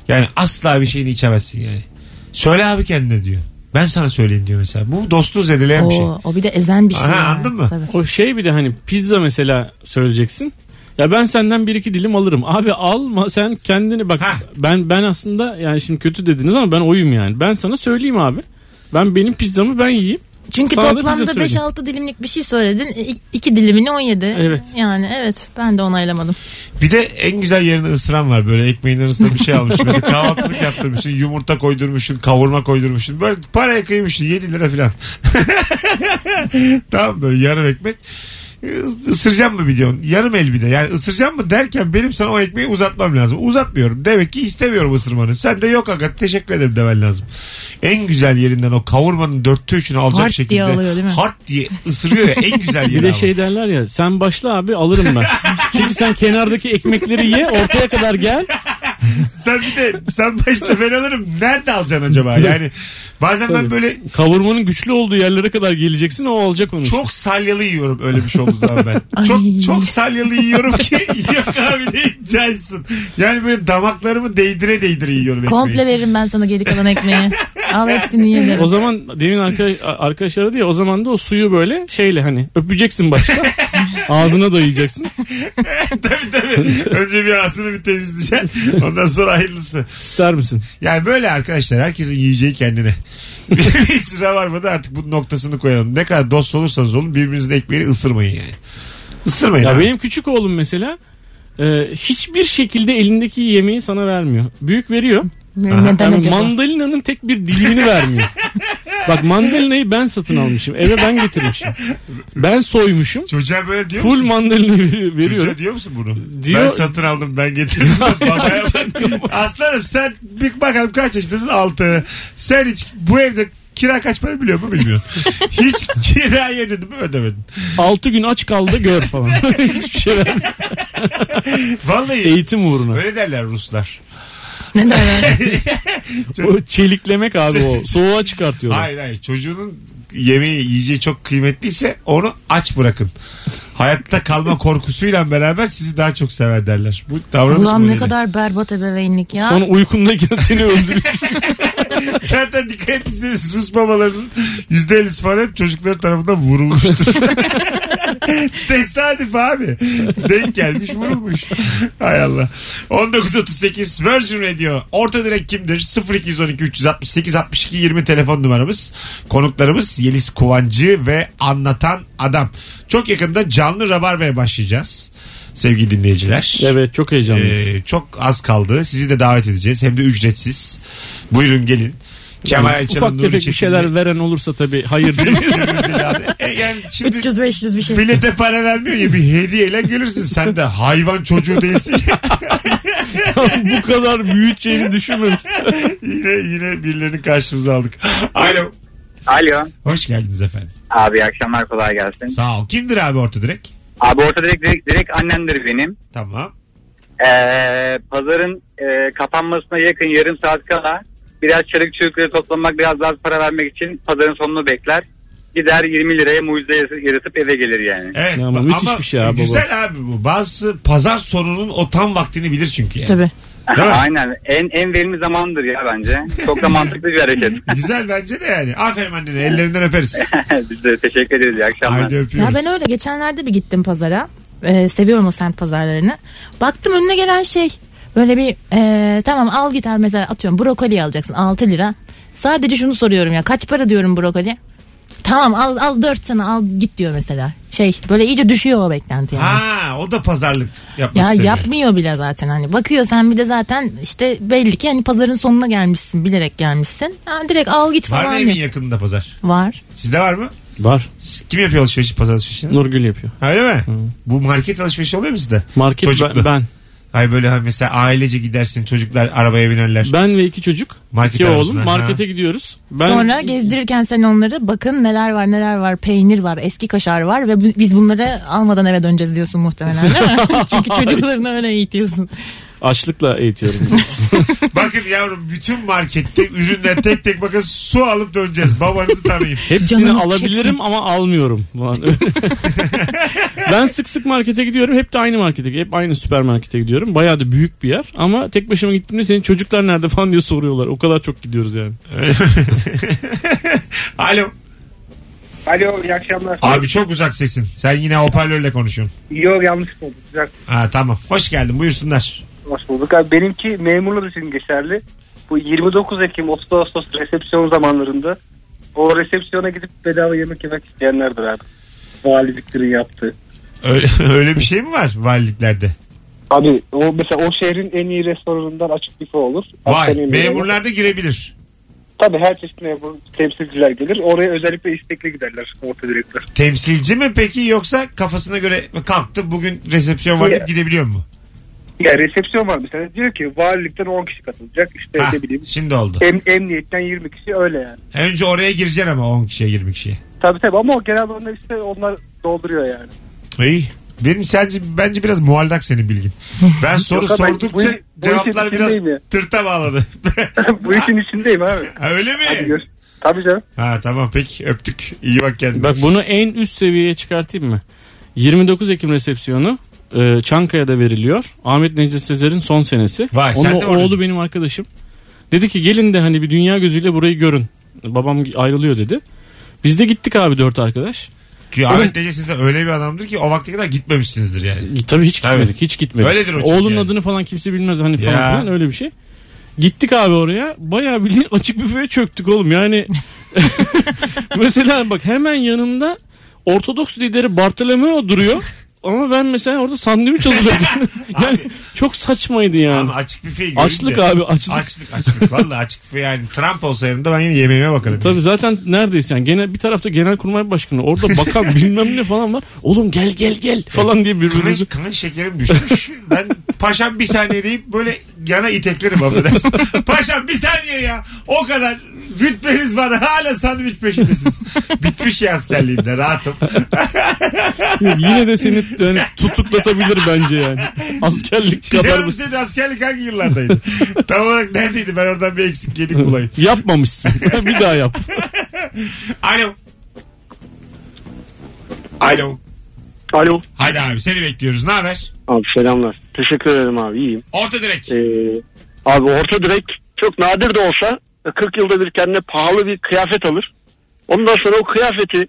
Speaker 3: Yani asla bir şeyini içemezsin yani. Söyle abi kendine diyor. Ben sana söyleyeyim diyor mesela. Bu dostluğu zedeleyen bir şey.
Speaker 4: Oo, o bir de ezen bir şey.
Speaker 3: Aha,
Speaker 4: ya.
Speaker 3: anladın mı?
Speaker 4: Tabii.
Speaker 2: o şey bir de hani pizza mesela söyleyeceksin. Ya ben senden bir iki dilim alırım. Abi alma sen kendini bak.
Speaker 3: Ha.
Speaker 2: Ben ben aslında yani şimdi kötü dediniz ama ben oyum yani. Ben sana söyleyeyim abi. Ben benim pizzamı ben yiyeyim.
Speaker 4: Çünkü
Speaker 2: Sana da bize
Speaker 4: toplamda
Speaker 2: söyle.
Speaker 4: 5-6 dilimlik bir şey söyledin. İ- iki dilimini 17.
Speaker 2: Evet.
Speaker 4: Yani evet ben de onaylamadım.
Speaker 3: Bir de en güzel yerine ısıran var. Böyle ekmeğin arasında bir şey almış. Mesela kahvaltılık yaptırmışsın. Yumurta koydurmuşsun. Kavurma koydurmuşsun. Böyle paraya kıymışsın. 7 lira falan. tamam böyle yarım ekmek. Is- Isıracağım mı biliyorsun? Yarım el bir de. Yani ısıracağım mı derken benim sana o ekmeği uzatmam lazım. Uzatmıyorum. Demek ki istemiyorum ısırmanı. Sen de yok aga teşekkür ederim demen lazım. En güzel yerinden o kavurmanın dörtte üçünü alacak
Speaker 4: Hart diye
Speaker 3: şekilde.
Speaker 4: alıyor değil mi?
Speaker 3: Hart diye ısırıyor ya en güzel yeri
Speaker 2: Bir de
Speaker 3: ama.
Speaker 2: şey derler ya sen başla abi alırım ben. Çünkü sen kenardaki ekmekleri ye ortaya kadar gel.
Speaker 3: Sen bir de sen başta ben alırım. Nerede alacaksın acaba? Yani bazen ben
Speaker 2: Tabii.
Speaker 3: böyle
Speaker 2: Kavurmanın güçlü olduğu yerlere kadar geleceksin o alacak onu. işte.
Speaker 3: çok salyalı yiyorum öyle bir şey olduğu zaman ben. Çok
Speaker 4: Ay.
Speaker 3: çok salyalı yiyorum ki yok abi değil caysın. Yani böyle damaklarımı değdire değdire yiyorum. ekmeği.
Speaker 4: Komple veririm ben sana geri kalan ekmeği. Al hepsini ye derim.
Speaker 2: O zaman demin arkadaş, arkadaşları diye o zaman da o suyu böyle şeyle hani öpeceksin başta. ağzına dayayacaksın.
Speaker 3: tabii tabii. Önce bir ağzını bir temizleyeceksin. Ondan sonra hayırlısı.
Speaker 2: İster misin?
Speaker 3: Yani böyle arkadaşlar herkesin yiyeceği kendine. bir sıra var mı da artık bu noktasını koyalım. Ne kadar dost olursanız olun birbirinizin ekmeğini ısırmayın yani. Isırmayın
Speaker 2: Ya
Speaker 3: abi.
Speaker 2: benim küçük oğlum mesela e, hiçbir şekilde elindeki yemeği sana vermiyor. Büyük veriyor.
Speaker 4: Ne- Neden
Speaker 2: Yani
Speaker 4: acaba?
Speaker 2: mandalinanın tek bir dilimini vermiyor. Bak mandalinayı ben satın almışım. Eve ben getirmişim. Ben soymuşum.
Speaker 3: Çocuğa böyle diyor
Speaker 2: Full
Speaker 3: musun?
Speaker 2: mandalinayı veriyorum.
Speaker 3: Çocuğa diyor musun bunu?
Speaker 2: Diyor-
Speaker 3: Ben satın aldım ben getirdim. Babaya bak. Aslanım sen bir bakalım kaç yaşındasın? 6. Sen hiç bu evde kira kaç para biliyor mu bilmiyorsun. hiç kira ödedin mi ödemedin.
Speaker 2: 6 gün aç kaldı gör falan. Hiçbir şey vermiyor.
Speaker 3: Vallahi
Speaker 2: Eğitim uğruna.
Speaker 3: öyle derler Ruslar.
Speaker 4: Ne derler?
Speaker 2: O çeliklemek abi o. Soğuğa çıkartıyorlar.
Speaker 3: Hayır hayır çocuğunun yemeği yiyeceği çok kıymetliyse onu aç bırakın. Hayatta kalma korkusuyla beraber sizi daha çok sever derler. Bu davranış
Speaker 4: Ulan ne
Speaker 3: modeli.
Speaker 4: kadar berbat ebeveynlik ya.
Speaker 2: Sonra uykundayken seni öldürüyor.
Speaker 3: Zaten dikkat etseniz Rus babalarının %50'si falan hep çocukları tarafından vurulmuştur. Tesadüf abi. Denk gelmiş vurulmuş. Hay Allah. 1938 Virgin Radio. Orta direk kimdir? 0212 368 62 20 telefon numaramız. Konuklarımız Yeliz Kuvancı ve Anlatan Adam. Çok yakında canlı Rabarba'ya başlayacağız. Sevgili dinleyiciler.
Speaker 2: Evet çok heyecanlıyız.
Speaker 3: Ee, çok az kaldı. Sizi de davet edeceğiz. Hem de ücretsiz. Buyurun gelin. Kemal
Speaker 2: Yani
Speaker 3: Ayça'nın
Speaker 2: ufak
Speaker 3: Nuri
Speaker 2: tefek bir
Speaker 3: Çetin'le-
Speaker 2: şeyler veren olursa tabii hayır değil.
Speaker 3: E, yani şimdi
Speaker 4: 300-500 bir şey.
Speaker 3: Bilete para vermiyor ya bir hediyeyle gelirsin. Sen de hayvan çocuğu değilsin.
Speaker 2: Bu kadar büyüteceğini düşünmemiş.
Speaker 3: yine yine birilerini karşımıza aldık. Alo.
Speaker 12: Alo.
Speaker 3: Hoş geldiniz efendim.
Speaker 12: Abi iyi akşamlar kolay gelsin.
Speaker 3: Sağ ol. Kimdir abi orta direkt?
Speaker 12: Abi orta direkt, direkt, direkt annemdir benim.
Speaker 3: Tamam.
Speaker 12: Ee, pazarın e, kapanmasına yakın yarım saat kala biraz çarık çürükleri toplamak biraz daha az para vermek için pazarın sonunu bekler. Gider 20 liraya mucize yaratıp eve gelir yani.
Speaker 3: Evet.
Speaker 2: Ama müthiş bir şey abi baba.
Speaker 3: Güzel abi bu. Bazısı pazar sonunun o tam vaktini bilir çünkü. Yani.
Speaker 4: Tabii.
Speaker 3: Değil mi?
Speaker 12: Aynen. En, en verimli zamandır ya bence. Çok da mantıklı bir hareket.
Speaker 3: Güzel bence de yani. Aferin annene. Ellerinden öperiz.
Speaker 12: Biz de teşekkür ederiz. İyi akşamlar.
Speaker 3: Haydi
Speaker 4: Ya
Speaker 3: öpüyoruz.
Speaker 4: ben öyle geçenlerde bir gittim pazara. Ee, seviyorum o semt pazarlarını. Baktım önüne gelen şey böyle bir ee, tamam al git al mesela atıyorum brokoli alacaksın 6 lira. Sadece şunu soruyorum ya kaç para diyorum brokoli? Tamam al al 4 sana al git diyor mesela. Şey böyle iyice düşüyor o beklenti yani.
Speaker 3: Ha, o da pazarlık yapmak
Speaker 4: Ya
Speaker 3: istemiyor.
Speaker 4: yapmıyor bile zaten hani bakıyor sen bir de zaten işte belli ki hani pazarın sonuna gelmişsin bilerek gelmişsin. Ha, direkt al git
Speaker 3: Var
Speaker 4: falan.
Speaker 3: mı
Speaker 4: diyor.
Speaker 3: evin yakınında pazar?
Speaker 4: Var.
Speaker 3: Sizde var mı?
Speaker 2: Var.
Speaker 3: Siz- Kim yapıyor alışverişi pazar alışverişini?
Speaker 2: Nurgül yapıyor.
Speaker 3: Öyle mi? Bu market alışverişi oluyor mu sizde?
Speaker 2: Market ben,
Speaker 3: Çocuklu.
Speaker 2: ben.
Speaker 3: Hay böyle ha mesela ailece gidersin çocuklar arabaya binerler.
Speaker 2: Ben ve iki çocuk.
Speaker 3: Market
Speaker 2: iki oğlum.
Speaker 3: arasına,
Speaker 2: Markete gidiyoruz. Ben
Speaker 4: Sonra gezdirirken sen onları bakın neler var neler var peynir var eski kaşar var ve bu- biz bunları almadan eve döneceğiz diyorsun muhtemelen değil mi? Çünkü çocuklarını öyle eğitiyorsun.
Speaker 2: açlıkla eğitiyorum.
Speaker 3: Bakın yavrum bütün markette ürünler tek tek bakın su alıp döneceğiz. Babanızı tanıyın.
Speaker 2: Hepsini
Speaker 4: Canınız
Speaker 2: alabilirim
Speaker 4: çeksin.
Speaker 2: ama almıyorum. falan. ben sık sık markete gidiyorum. Hep de aynı markete, hep aynı süpermarkete gidiyorum. Bayağı da büyük bir yer. Ama tek başıma gittiğimde senin çocuklar nerede falan diye soruyorlar. O kadar çok gidiyoruz yani.
Speaker 3: Alo.
Speaker 11: Alo iyi akşamlar.
Speaker 3: Abi çok uzak sesin. Sen yine hoparlörle konuşuyorsun.
Speaker 11: Yok yanlış oldu. Güzel.
Speaker 3: Ha tamam. Hoş geldin. Buyursunlar.
Speaker 11: Hoş bulduk. Abi, benimki memurlar için geçerli. Bu 29 Ekim 30 Ağustos resepsiyon zamanlarında o resepsiyona gidip bedava yemek yemek isteyenlerdir abi. Valiliklerin yaptığı.
Speaker 3: Öyle, öyle bir şey mi var valiliklerde?
Speaker 11: Abi o mesela o şehrin en iyi restoranından açık büfe olur.
Speaker 3: Vay.
Speaker 11: Akşam yemeği olur.
Speaker 3: Memurlar da girebilir.
Speaker 11: Tabii her çeşit memur temsilciler gelir. Oraya özellikle istekli giderler orta direkler.
Speaker 3: Temsilci mi peki yoksa kafasına göre kalktı bugün resepsiyon var deyip
Speaker 11: Ya.
Speaker 3: gidebiliyor mu?
Speaker 11: Ya resepsiyon var mesela. Diyor ki valilikten 10 kişi katılacak. İşte
Speaker 3: Ha,
Speaker 11: ne bileyim.
Speaker 3: şimdi oldu.
Speaker 11: Em, emniyetten 20 kişi öyle yani.
Speaker 3: Önce oraya gireceksin ama 10 kişiye 20 kişiye.
Speaker 11: Tabii tabii ama o genelde onlar işte onlar dolduruyor yani.
Speaker 3: İyi. Benim sence bence biraz muallak senin bilgin. Ben soru
Speaker 11: Yok abi, bu-
Speaker 3: sordukça
Speaker 11: bu işin
Speaker 3: cevaplar biraz
Speaker 11: içindeyim ya.
Speaker 3: tırta bağladı.
Speaker 11: Bu işin içindeyim abi.
Speaker 3: ha, öyle mi?
Speaker 11: Hadi görüş. Tabii canım.
Speaker 3: Ha tamam peki öptük. İyi bak kendine.
Speaker 2: Bak bunu en üst seviyeye çıkartayım mı? 29 Ekim resepsiyonu e, Çankaya'da veriliyor. Ahmet Necdet Sezer'in son senesi.
Speaker 3: Vay,
Speaker 2: Onun
Speaker 3: sen de
Speaker 2: oğlu
Speaker 3: oradaydın.
Speaker 2: benim arkadaşım. Dedi ki gelin de hani bir dünya gözüyle burayı görün. Babam ayrılıyor dedi. Biz de gittik abi dört arkadaş.
Speaker 3: Ki Ahmet Necdet siz de öyle bir adamdır ki o vakte kadar gitmemişsinizdir yani.
Speaker 2: Tabii hiç gitmedik.
Speaker 3: Tabii.
Speaker 2: Hiç gitmedik.
Speaker 3: Öyledir o çünkü
Speaker 2: Oğlunun
Speaker 3: yani.
Speaker 2: adını falan kimse bilmez hani falan
Speaker 3: Ya.
Speaker 2: filan öyle bir şey. Gittik abi oraya. Bayağı bildiğin açık büfeye çöktük oğlum. Yani mesela bak hemen yanımda Ortodoks lideri Bartolomeo duruyor. Ama ben mesela orada sandviç hazırladım. yani çok saçmaydı yani.
Speaker 3: Ama açık büfeye girince.
Speaker 2: Açlık abi açlık.
Speaker 3: Açlık açlık. Valla açık büfe yani Trump olsa yanımda ben yine yemeğime bakarım.
Speaker 2: Tabii zaten neredeyse yani genel bir tarafta genel kurmay başkanı orada bakan bilmem ne falan var. Oğlum gel gel gel falan diye birbirimizi
Speaker 3: Kılıç, kılıç şekerim düşmüş. Ben paşam bir saniye deyip böyle yana iteklerim affedersin. paşam bir saniye ya. O kadar rütbeniz var hala sandviç peşindesiniz. Bitmiş ya askerliğimde rahatım.
Speaker 2: Yine de seni yani tutuklatabilir bence yani. Askerlik kadar
Speaker 3: Yarım
Speaker 2: basit.
Speaker 3: Şey senin askerlik hangi yıllardaydı? Tam olarak neredeydi ben oradan bir eksik yedik bulayım.
Speaker 2: Yapmamışsın. bir daha yap.
Speaker 3: Alo. Alo.
Speaker 11: Alo.
Speaker 3: Hadi abi seni bekliyoruz. Ne haber?
Speaker 11: Abi selamlar. Teşekkür ederim abi iyiyim.
Speaker 13: Ee,
Speaker 3: Orta direkt.
Speaker 11: Ee, abi orta direkt çok nadir de olsa
Speaker 13: 40 yılda bir kendine pahalı bir kıyafet alır. Ondan sonra o kıyafeti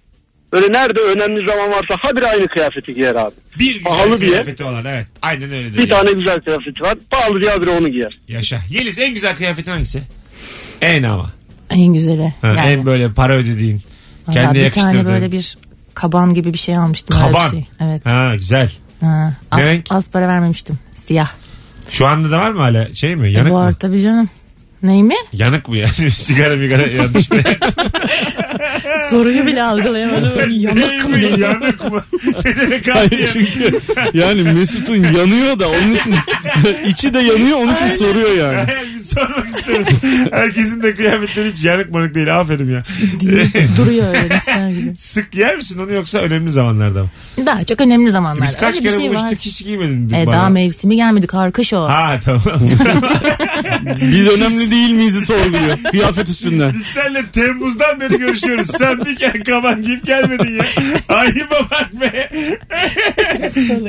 Speaker 13: böyle nerede önemli zaman varsa habire aynı kıyafeti giyer abi.
Speaker 3: Bir güzel
Speaker 13: pahalı diye
Speaker 3: kıyafeti olan evet. Aynen öyledir.
Speaker 13: bir tane güzel kıyafeti var. Pahalı diye habire onu giyer.
Speaker 3: Yaşa. Yeliz en güzel kıyafetin hangisi? En ama.
Speaker 4: En güzeli.
Speaker 3: Ha,
Speaker 4: yani.
Speaker 3: En böyle para ödediğin.
Speaker 4: Vallahi
Speaker 3: Kendine
Speaker 4: bir tane
Speaker 3: yakıştırdığın.
Speaker 4: böyle bir kaban gibi bir şey almıştım. öyle bir
Speaker 3: Kaban.
Speaker 4: şey. Evet.
Speaker 3: Ha güzel.
Speaker 4: Ha, az,
Speaker 3: Ne renk?
Speaker 4: az para vermemiştim. Siyah.
Speaker 3: Şu anda da var mı hala şey mi
Speaker 4: E,
Speaker 3: yanık
Speaker 4: bu
Speaker 3: mı?
Speaker 4: arada tabii canım. Ney mi?
Speaker 3: Yanık mı yani? Sigara migara yanlış.
Speaker 4: Soruyu bile algılayamadım. Yanık mı?
Speaker 3: Yanık mı? Ne demek abi
Speaker 2: Hayır çünkü yani Mesut'un yanıyor da onun için içi de yanıyor onun için soruyor yani.
Speaker 3: Hayır, bir sormak istedim. Herkesin de kıyafetleri hiç yanık manık değil. Aferin ya.
Speaker 4: Duruyor öyle ister gibi.
Speaker 3: Sık yer misin onu yoksa önemli zamanlarda mı?
Speaker 4: Daha çok önemli zamanlarda.
Speaker 3: Biz kaç
Speaker 4: Öyle bir
Speaker 3: kere
Speaker 4: şey var.
Speaker 3: buluştuk hiç giymedin
Speaker 4: E,
Speaker 3: bana.
Speaker 4: daha mevsimi gelmedi. Karkış o.
Speaker 3: Ha tamam.
Speaker 2: Biz önemli değil miyiz sorguluyor kıyafet üstünden.
Speaker 3: Biz seninle Temmuz'dan beri görüşüyoruz. Sen bir kere kaban giyip gelmedin ya. Ayıba bak be.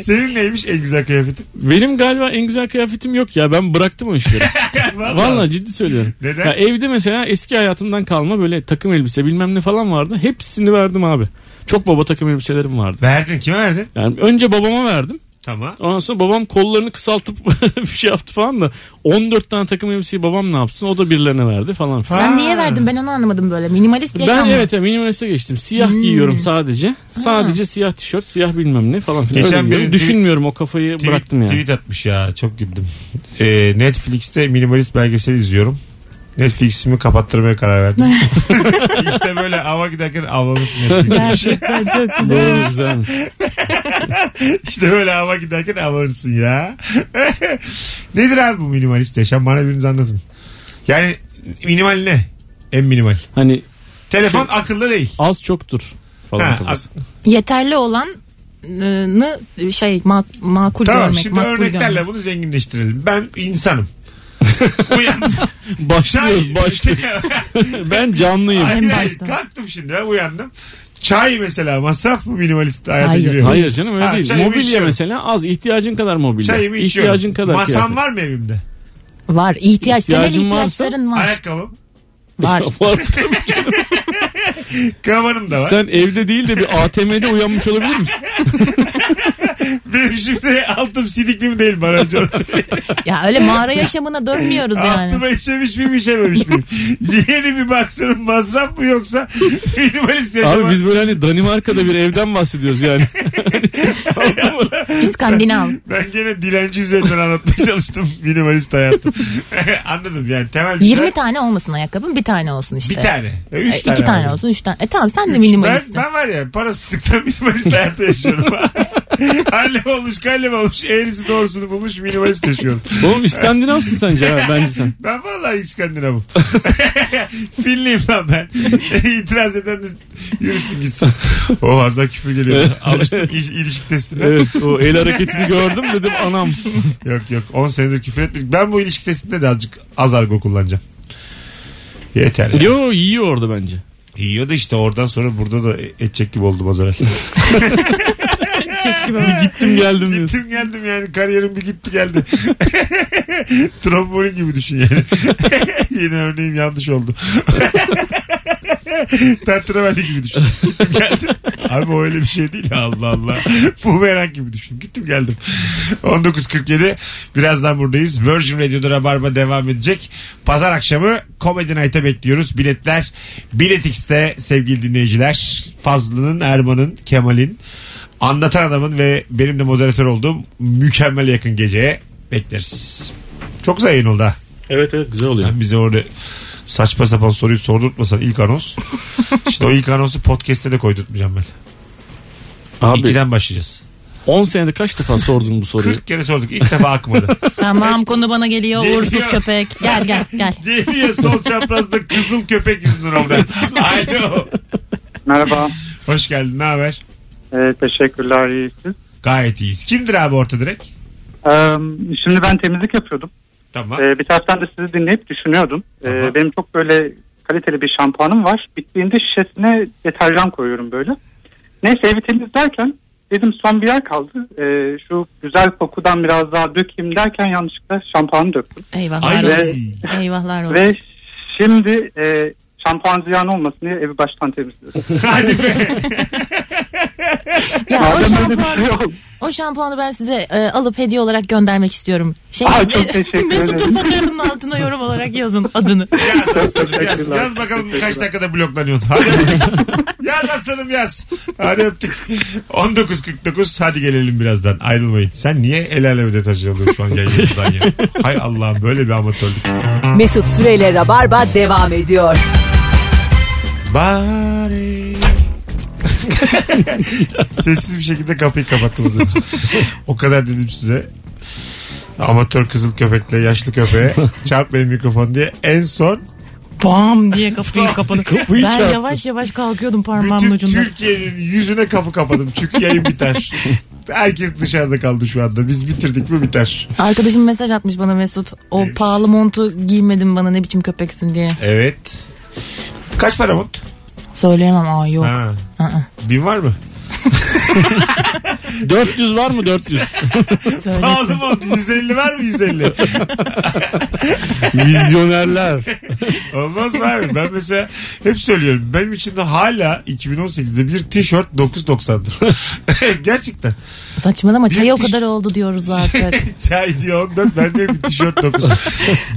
Speaker 3: Senin neymiş en güzel kıyafetin?
Speaker 2: Benim galiba en güzel kıyafetim yok ya ben bıraktım o işleri.
Speaker 3: Vallahi.
Speaker 2: Valla ciddi söylüyorum.
Speaker 3: Neden?
Speaker 2: Ya evde mesela eski hayatımdan kalma böyle takım elbise bilmem ne falan vardı. Hepsini verdim abi. Çok baba takım elbiselerim vardı.
Speaker 3: Verdin kime verdin?
Speaker 2: Yani önce babama verdim.
Speaker 3: Tamam.
Speaker 2: Ondan sonra babam kollarını kısaltıp bir şey yaptı falan da 14 tane takım elbiseyi babam ne yapsın o da birilerine verdi falan filan.
Speaker 4: Sen niye verdin? Ben onu anlamadım böyle. Minimalist yaşam
Speaker 2: Ben
Speaker 4: mı?
Speaker 2: evet minimaliste geçtim. Siyah
Speaker 4: Hmm.
Speaker 2: giyiyorum sadece. Sadece siyah tişört, siyah bilmem ne falan filan.
Speaker 3: Geçen
Speaker 2: Öyle giyiyorum.
Speaker 3: bir tweet-
Speaker 2: Düşünmüyorum o kafayı
Speaker 3: Tweet,
Speaker 2: bıraktım yani.
Speaker 3: tweet atmış ya çok güldüm. Ee, Netflix'te minimalist belgeseli izliyorum. Netflix'imi kapattırmaya karar verdim. işte böyle ava giderken avlanırsın Netflix'e.
Speaker 4: Gerçekten çok
Speaker 2: Doğru,
Speaker 4: güzel.
Speaker 2: güzelmiş.
Speaker 3: işte böyle ava giderken avlanırsın ya. Nedir abi bu minimalist yaşam? Bana biriniz anlatın. Yani minimal ne? En minimal.
Speaker 2: Hani
Speaker 3: Telefon akıllı değil.
Speaker 2: az çoktur falan.
Speaker 3: Ha,
Speaker 2: kafası.
Speaker 3: ak-
Speaker 4: Yeterli olanı şey ma- makul
Speaker 3: tamam
Speaker 4: görmek.
Speaker 3: şimdi
Speaker 4: makul
Speaker 3: örneklerle
Speaker 4: görmek.
Speaker 3: bunu zenginleştirelim. Ben insanım.
Speaker 2: Başlıyoruz başlıyoruz. ben canlıyım.
Speaker 3: Hayır,
Speaker 4: En
Speaker 3: hayır.
Speaker 4: başta.
Speaker 3: kalktım şimdi ben uyandım. Çay mesela masraf mı minimalist hayata
Speaker 4: Hayır.
Speaker 3: giriyor?
Speaker 2: Hayır canım öyle
Speaker 3: Ha,
Speaker 2: değil.
Speaker 3: çayımı
Speaker 2: Mobilya
Speaker 3: içiyorum.
Speaker 2: mesela az ihtiyacın kadar mobilya.
Speaker 3: Çayımı içiyorum.
Speaker 2: ihtiyacın kadar
Speaker 3: Masam
Speaker 2: kıyafet.
Speaker 3: var mı evimde?
Speaker 4: Var. İhtiyaç, temel
Speaker 2: İhtiyacın varsa-
Speaker 4: ihtiyaçların var.
Speaker 3: Ayakkabım.
Speaker 4: Var.
Speaker 2: Var.
Speaker 3: Kavanım da var.
Speaker 2: Sen evde değil de bir ATM'de uyanmış olabilir misin?
Speaker 3: Benim şimdi altım sidikli mi değil bana önce onu söyle.
Speaker 4: Ya öyle mağara yaşamına dönmüyoruz yani.
Speaker 3: Altıma işemiş miyim işememiş miyim? Yeni bir baksırım masraf mı yoksa minimalist yaşamak?
Speaker 2: Abi biz böyle hani Danimarka'da bir evden bahsediyoruz yani.
Speaker 4: İskandinav.
Speaker 3: Ben gene dilenci üzerinden anlatmaya çalıştım minimalist hayatı. Anladım yani temel bir
Speaker 4: 20
Speaker 3: şeyler.
Speaker 4: tane olmasın ayakkabın bir tane olsun işte.
Speaker 3: Bir tane. E,
Speaker 4: E,
Speaker 3: Üç
Speaker 4: iki
Speaker 3: tane.
Speaker 4: tane,
Speaker 3: var.
Speaker 4: olsun üç tane. E tamam sen de
Speaker 3: Üç.
Speaker 4: minimalistsin.
Speaker 3: Ben, ben var ya parasızlıktan minimalist hayatı yaşıyorum. Hallem olmuş kallem olmuş eğrisi doğrusunu bulmuş minimalist yaşıyorum.
Speaker 2: Oğlum İskandinavsın sence ha bence sen.
Speaker 3: Ben vallahi İskandinav'ım. Finliyim lan ben. İtiraz eden de yürüsün gitsin. O az daha küfür geliyor. Alıştım il- ilişki testine.
Speaker 2: Evet o el hareketini gördüm dedim anam.
Speaker 3: Yok yok 10 senedir küfür etmedik. Ben bu ilişki testinde de azıcık az argo kullanacağım. Yeter ya.
Speaker 2: Yo yiyor orada bence.
Speaker 3: Yiyordu işte oradan sonra burada da edecek gibi oldum az evvel.
Speaker 2: Bir gittim geldim diyorsun.
Speaker 3: Gittim geldim yani kariyerim bir gitti geldi. Trombonin gibi düşün yani. Yeni örneğim yanlış oldu. Tatravelli gibi düşün. Gittim geldim. Abi o öyle bir şey değil Allah Allah. Bumerang gibi düşün. Gittim geldim. 19.47 birazdan buradayız. Virgin Radio'da Rabarba devam edecek. Pazar akşamı Comedy Night'a bekliyoruz. Biletler Biletix'te sevgili dinleyiciler. Fazlı'nın, Erman'ın, Kemal'in Anlatan Adam'ın ve benim de moderatör olduğum mükemmel yakın geceye bekleriz. Çok güzel yayın oldu ha.
Speaker 2: Evet evet güzel oluyor.
Speaker 3: Sen bize orada saçma sapan soruyu sordurtmasan ilk anons. işte o ilk anonsu podcast'te de koydurtmayacağım ben.
Speaker 2: Abi
Speaker 3: İkiden başlayacağız.
Speaker 2: 10 senede kaç defa sordun bu soruyu?
Speaker 3: 40 kere sorduk ilk defa akmadı.
Speaker 4: Tamam konu bana geliyor
Speaker 3: Geliyor.
Speaker 4: uğursuz köpek. Gel gel gel.
Speaker 3: Geliyor sol çaprazda kızıl köpek yüzünden oradan. Alo.
Speaker 11: Merhaba.
Speaker 3: Hoş geldin ne haber?
Speaker 11: Ee, teşekkürler iyisiniz.
Speaker 3: Gayet iyiyiz. Kimdir abi orta direkt?
Speaker 11: Ee, şimdi ben temizlik yapıyordum.
Speaker 3: Tamam.
Speaker 11: Ee, bir taraftan da sizi dinleyip düşünüyordum. Ee,
Speaker 3: Aha.
Speaker 11: benim çok böyle kaliteli bir şampuanım var. Bittiğinde şişesine deterjan koyuyorum böyle. Neyse evi temizlerken dedim son bir yer kaldı. Ee, şu güzel kokudan biraz daha dökeyim derken yanlışlıkla şampuanı döktüm.
Speaker 4: Eyvahlar
Speaker 3: Ay.
Speaker 4: olsun. Eyvahlar olsun.
Speaker 11: Ve Şimdi e, şampuancı yağın olmasın diye evi baştan temizliyoruz.
Speaker 4: Ya
Speaker 11: Madem
Speaker 4: o
Speaker 11: böyle
Speaker 13: şey
Speaker 4: şampuanı, o şampuanı ben size e, alıp hediye olarak göndermek istiyorum. Şey,
Speaker 11: Ay, çok teşekkür
Speaker 4: Mesut'un
Speaker 11: ederim.
Speaker 4: fotoğrafının altına yorum olarak yazın adını.
Speaker 3: Yaz, yaz bakalım kaç dakikada bloklanıyorsun. Hadi yaz aslanım yaz. Hadi öptük. 19.49 hadi gelelim birazdan ayrılmayın. Sen niye el aleme detajcı alıyorsun şu an yayınımızdan ya? Hay Allah'ım böyle bir amatörlük.
Speaker 1: Mesut Süreyle Rabarba devam ediyor.
Speaker 3: Bari. Sessiz bir şekilde kapıyı kapattım az önce. O kadar dedim size. Amatör kızıl köpekle yaşlı köpeğe çarpmayın mikrofon diye. En son
Speaker 4: Bam diye kapıyı kapadı.
Speaker 3: Kapıyı
Speaker 4: ben
Speaker 3: çarptı.
Speaker 4: yavaş yavaş kalkıyordum
Speaker 3: bütün
Speaker 4: parmağımın ucunda.
Speaker 3: Türkiye'nin yüzüne kapı kapadım. Çünkü yayın biter. Herkes dışarıda kaldı şu anda. Biz bitirdik mi biter.
Speaker 4: Arkadaşım mesaj atmış bana Mesut. O pahalı montu giymedin bana ne biçim köpeksin diye.
Speaker 3: Evet. Kaç para mont?
Speaker 4: Söyleyemem aa yok.
Speaker 3: Ha.
Speaker 4: Aa.
Speaker 3: Bin var mı?
Speaker 2: 400 var mı 400?
Speaker 3: Pahalı mont. 150 var mı 150?
Speaker 2: Vizyonerler.
Speaker 3: Olmaz mı abi? Ben mesela hep söylüyorum. Benim için de hala 2018'de bir tişört 9.90'dır. Gerçekten.
Speaker 4: Saçmalama
Speaker 3: Bir
Speaker 4: çay o
Speaker 3: tiş-
Speaker 4: kadar oldu diyoruz artık.
Speaker 3: Çay diyor 14 ben diyorum ki tişört 9.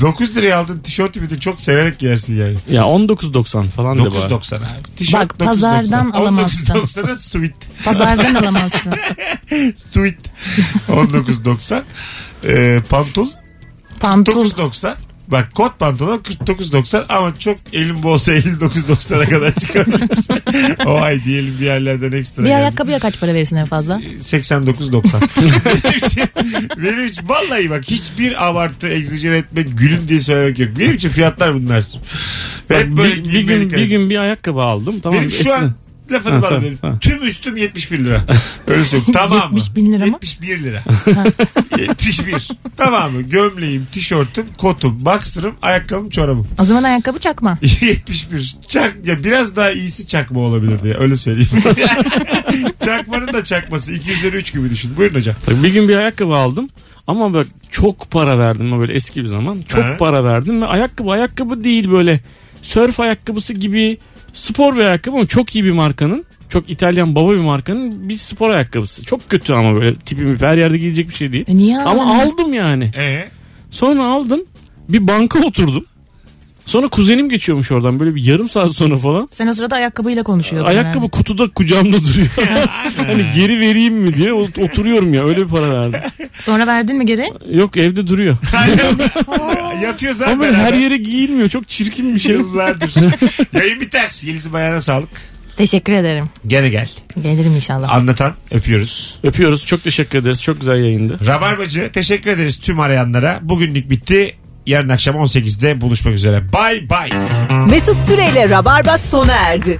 Speaker 3: 9 liraya aldın tişörtü bir de çok severek giyersin yani.
Speaker 2: Ya 19.90 falan da
Speaker 3: 9.90 abi. Tişört
Speaker 4: Bak pazardan
Speaker 3: 9.90.
Speaker 4: alamazsın.
Speaker 3: 19.90'a sweet.
Speaker 4: Pazardan alamazsın.
Speaker 3: Sweet. 19.90. Ee, pantul.
Speaker 4: Pantul.
Speaker 3: 9.90. Bak kot pantolon 49.90 ama çok elim bol olsa 59.90'a kadar çıkabilir. o ay diyelim bir yerlerden ekstra.
Speaker 4: Bir
Speaker 3: geldi.
Speaker 4: ayakkabıya kaç para verirsin en fazla?
Speaker 3: 89.90. benim, için, benim için vallahi bak hiçbir abartı egzajer etmek gülüm diye söylemek yok. Benim için fiyatlar bunlar. Ben hep böyle
Speaker 2: bir, bir gün
Speaker 3: giyinmelik-
Speaker 2: bir gün bir ayakkabı aldım. Tamam.
Speaker 3: benim şu an lafını
Speaker 2: Ha,
Speaker 3: bana
Speaker 2: tamam,
Speaker 3: verin.
Speaker 2: ha.
Speaker 3: Tüm üstüm 71 lira. Öyle söyleyeyim. Tamam mı?
Speaker 4: 70 bin lira mı?
Speaker 3: 71 lira. 71. Tamam mı? Gömleğim, tişörtüm, kotum, boxer'ım, ayakkabım, çorabım.
Speaker 4: O zaman ayakkabı çakma.
Speaker 3: 71. Çak, ya biraz daha iyisi çakma olabilir diye. Öyle söyleyeyim. Çakmanın da çakması. 2 üzeri 3 gibi düşün. Buyurun hocam.
Speaker 2: Tabii Bir gün bir ayakkabı aldım. Ama bak çok para verdim ama böyle eski bir zaman. Çok
Speaker 3: Ha.
Speaker 2: para verdim ve ayakkabı ayakkabı değil böyle sörf ayakkabısı gibi spor bir ayakkabı ama çok iyi bir markanın. Çok İtalyan baba bir markanın bir spor ayakkabısı. Çok kötü ama böyle tipim her yerde giyecek bir şey değil.
Speaker 4: E niye aldın?
Speaker 2: ama aldım yani.
Speaker 3: Ee?
Speaker 2: Sonra aldım bir banka oturdum. Sonra kuzenim geçiyormuş oradan böyle bir yarım saat sonra falan.
Speaker 4: Sen o sırada ayakkabıyla konuşuyordun.
Speaker 2: Ayakkabı
Speaker 4: herhalde.
Speaker 2: kutuda kucağımda duruyor. hani geri vereyim mi diye ot- oturuyorum ya öyle bir para verdim.
Speaker 4: Sonra verdin mi geri?
Speaker 2: Yok evde duruyor.
Speaker 3: Yatıyor zaten.
Speaker 2: Ama böyle her
Speaker 3: beraber.
Speaker 2: yere giyilmiyor. Çok çirkin bir şey.
Speaker 3: Yıllardır. Yayın biter. Yeliz'in ayağına sağlık.
Speaker 4: Teşekkür ederim.
Speaker 3: Gene gel.
Speaker 4: Gelirim inşallah.
Speaker 3: Anlatan öpüyoruz.
Speaker 2: Öpüyoruz. Çok teşekkür ederiz. Çok güzel yayındı.
Speaker 3: Rabarbacı teşekkür ederiz tüm arayanlara. Bugünlük bitti. Yarın akşam 18'de buluşmak üzere. Bay bay.
Speaker 1: Mesut Süreyle Rabarba sona erdi.